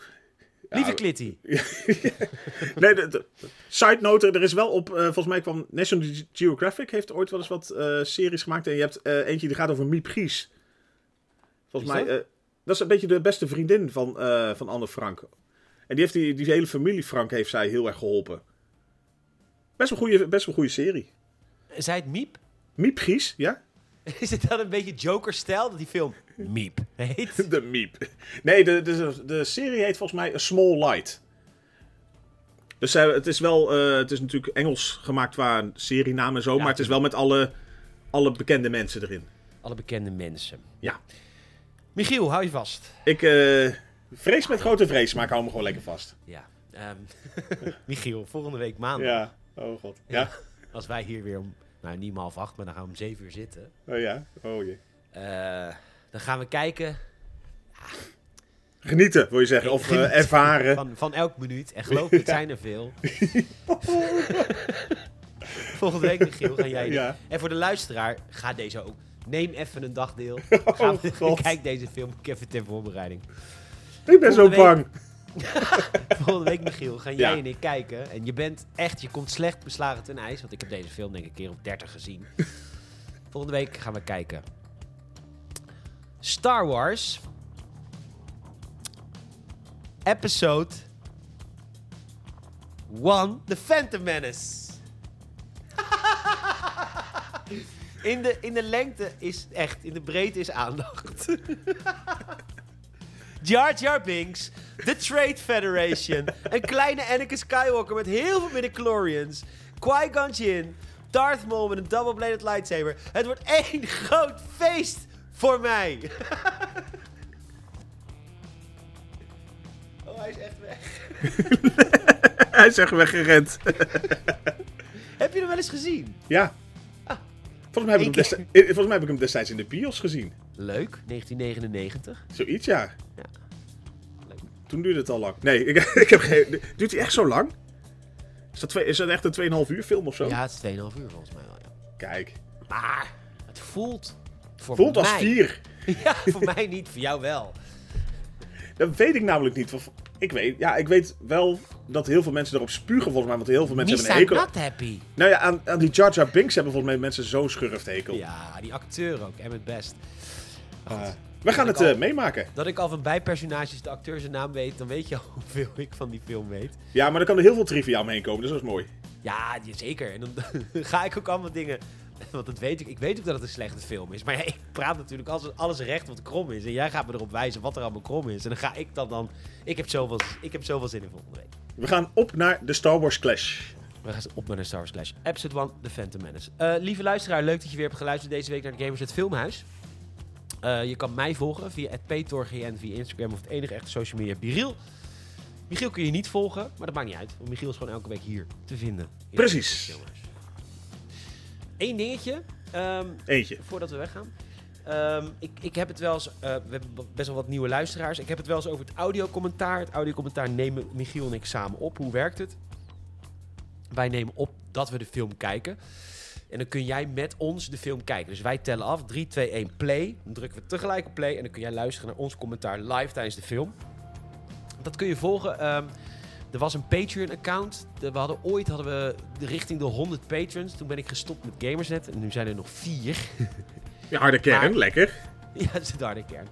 Lieve Klitty. Nee, de, de- side note, er is wel op, eh, volgens mij kwam National Ge- Geographic heeft ooit wel eens wat eh, series gemaakt. En je hebt eh, eentje die gaat over Miep Gies. Volgens Wie mij, is eh, dat is een beetje de beste vriendin van, eh, van Anne Frank. En die heeft die, die hele familie Frank heeft zij heel erg geholpen. Best wel goede, best wel goede serie. Zij het Miep? [laughs] Miep Gies, ja? Is het dan een beetje Joker-stijl dat die film Miep heet? [laughs] De Miep. Nee, de, de, de serie heet volgens mij A Small Light. Dus zij- het is wel, eh, het is natuurlijk Engels gemaakt qua serienaam en zo, maar het is wel met alle, alle bekende mensen erin. [laughs] Alle bekende mensen. Ja. Michiel, hou je vast. Ik eh, vrees met grote vrees, maar ik hou me gewoon lekker vast. Ja. ehm, [laughs] Michiel, volgende week maandag. Ja, oh god. Ja, Als wij hier weer om, nou niet om half acht, maar dan gaan we om zeven uur zitten. oh ja, oh jee. Eh, dan gaan we kijken Genieten, wil je zeggen, of eh, ervaren. van, van elk minuut. En geloof [laughs] me, het zijn er veel. [laughs] Volgende week, Michiel, ga jij. Ja. doen. En voor de luisteraar, ga deze ook. Neem even een dagdeel. [laughs] Oh, Ga- God. [laughs] kijk deze film ook even ter voorbereiding. Ik ben zo volgende week- bang. [laughs] Volgende week, Michiel, gaan Ja. jij en ik kijken. En je bent echt, je komt slecht beslagen ten ijs. Want ik heb deze film denk ik een keer of 30 gezien. Volgende week gaan we kijken. Star Wars. Episode 1. The Phantom Menace. In de, in de lengte is echt, in de breedte is aandacht. Jar Jar Binks, [laughs] de Trade Federation, een kleine Anakin Skywalker met heel veel midichlorians, Qui-Gon Jinn, Darth Maul met een double-bladed lightsaber. Het wordt één [laughs] groot feest voor mij. [laughs] oh, hij is echt weg. [laughs] Hij is echt weggerend. Heb je hem wel eens gezien? ja. Volgens mij, heb ik hem Eén desti- eh, volgens mij heb ik hem destijds in de bios gezien. Leuk, 1999. Zoiets, ja. Ja. Leuk. Toen duurde het al lang. Nee, ik, [laughs] ik heb geen... Duurt hij echt zo lang? Is dat, twee, is dat echt een 2,5 uur film of zo? Ja, het is 2,5 uur volgens mij wel. Ja. Kijk. Maar het voelt voor Voelt als mij- 4. [laughs] Ja, voor mij niet, voor jou wel. Dat weet ik namelijk niet. want Ik weet, ja, ik weet wel dat heel veel mensen erop spugen volgens mij. Want heel veel mensen Niet zijn hebben een hekel. not happy. Nou ja, aan, aan die Jar Jar Binks hebben volgens mij mensen zo'n schurft hekel. Ja, die acteur ook. En het best. Maar goed, Eh, we gaan het al- eh, meemaken. Dat ik al van bijpersonages de acteur zijn naam weet, dan weet je al [laughs] hoeveel ik van die film weet. Ja, maar er kan er heel veel trivia omheen komen. Dus dat is mooi. Ja, die- zeker. En dan [laughs] ga ik ook allemaal dingen... Want dat weet ik. Ik weet ook dat het een slechte film is. Maar ja, ik praat natuurlijk alles, alles recht wat krom is. En jij gaat me erop wijzen wat er allemaal krom is. En dan ga ik dat dan... Ik heb zoveel, ik heb zoveel zin in volgende week. We gaan op naar de Star Wars Clash. We gaan op naar de Star Wars Clash. Episode 1, The Phantom Menace. Eh, lieve luisteraar, leuk dat je weer hebt geluisterd deze week naar de Gamers het Filmhuis. Eh, je kan mij volgen via @petorgn via Instagram of het enige echte social media Biriel. Michiel kun je niet volgen, maar dat maakt niet uit. Want Michiel is gewoon elke week hier te vinden. Hier Precies. in het Filmhuis. Eén dingetje, ehm, Eentje. voordat we weggaan. Ehm, ik, ik heb het wel eens, eh, we hebben b- best wel wat nieuwe luisteraars. Ik heb het wel eens over het audiocommentaar. Het audiocommentaar nemen Michiel en ik samen op. Hoe werkt het? Wij nemen op dat we de film kijken. En dan kun jij met ons de film kijken. Dus wij tellen af. 3, 2, 1, play. Dan drukken we tegelijk op play. En dan kun jij luisteren naar ons commentaar live tijdens de film. Dat kun je volgen. Ehm, er was een Patreon-account. De- We hadden ooit hadden we de- richting de 100 patrons. Toen ben ik gestopt met Gamersnet. En nu zijn er nog vier. Ja, harde kern, Maar- lekker. [laughs] Ja, dat is de harde kern.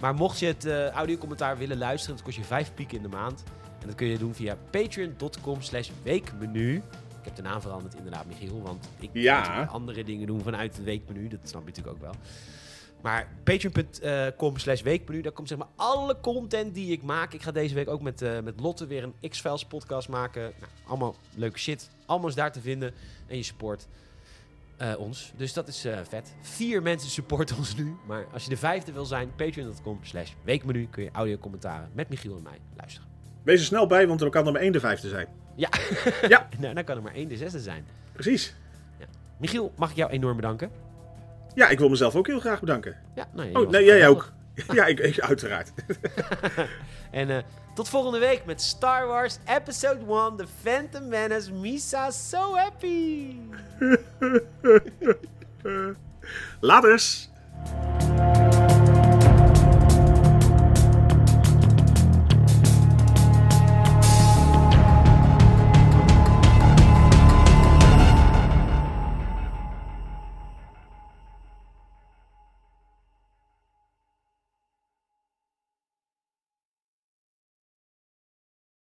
Maar mocht je het eh audiocommentaar willen luisteren, dat kost je 5 piek in de maand. En dat kun je doen via patreon.com slash weekmenu. Ik heb de naam veranderd inderdaad, Michiel. Want ik Ja. kan natuurlijk andere dingen doen vanuit het weekmenu. Dat snap je natuurlijk ook wel. Maar patreon.com slash weekmenu, daar komt zeg maar alle content die ik maak. Ik ga deze week ook met, eh, met Lotte weer een X-Files podcast maken. Nou, allemaal leuke shit. Allemaal is daar te vinden. En je support eh, ons. Dus dat is eh, vet. Vier mensen supporten ons nu. Maar als je de vijfde wil zijn, patreon.com slash weekmenu kun je audiocommentaren met Michiel en mij luisteren. Wees er snel bij, want er kan er maar één de vijfde zijn. Ja, [laughs] Ja. nou, dan kan er maar één de zesde zijn. Precies. Michiel, mag ik jou enorm bedanken? Ja, ik wil mezelf ook heel graag bedanken. Ja, nou, je Oh, was nee, het jij geweldig. ook. [laughs] Ja, ik, ik- uiteraard. [laughs] En eh, tot volgende week met Star Wars Episode 1 The Phantom Menace Misa So Happy! Laters.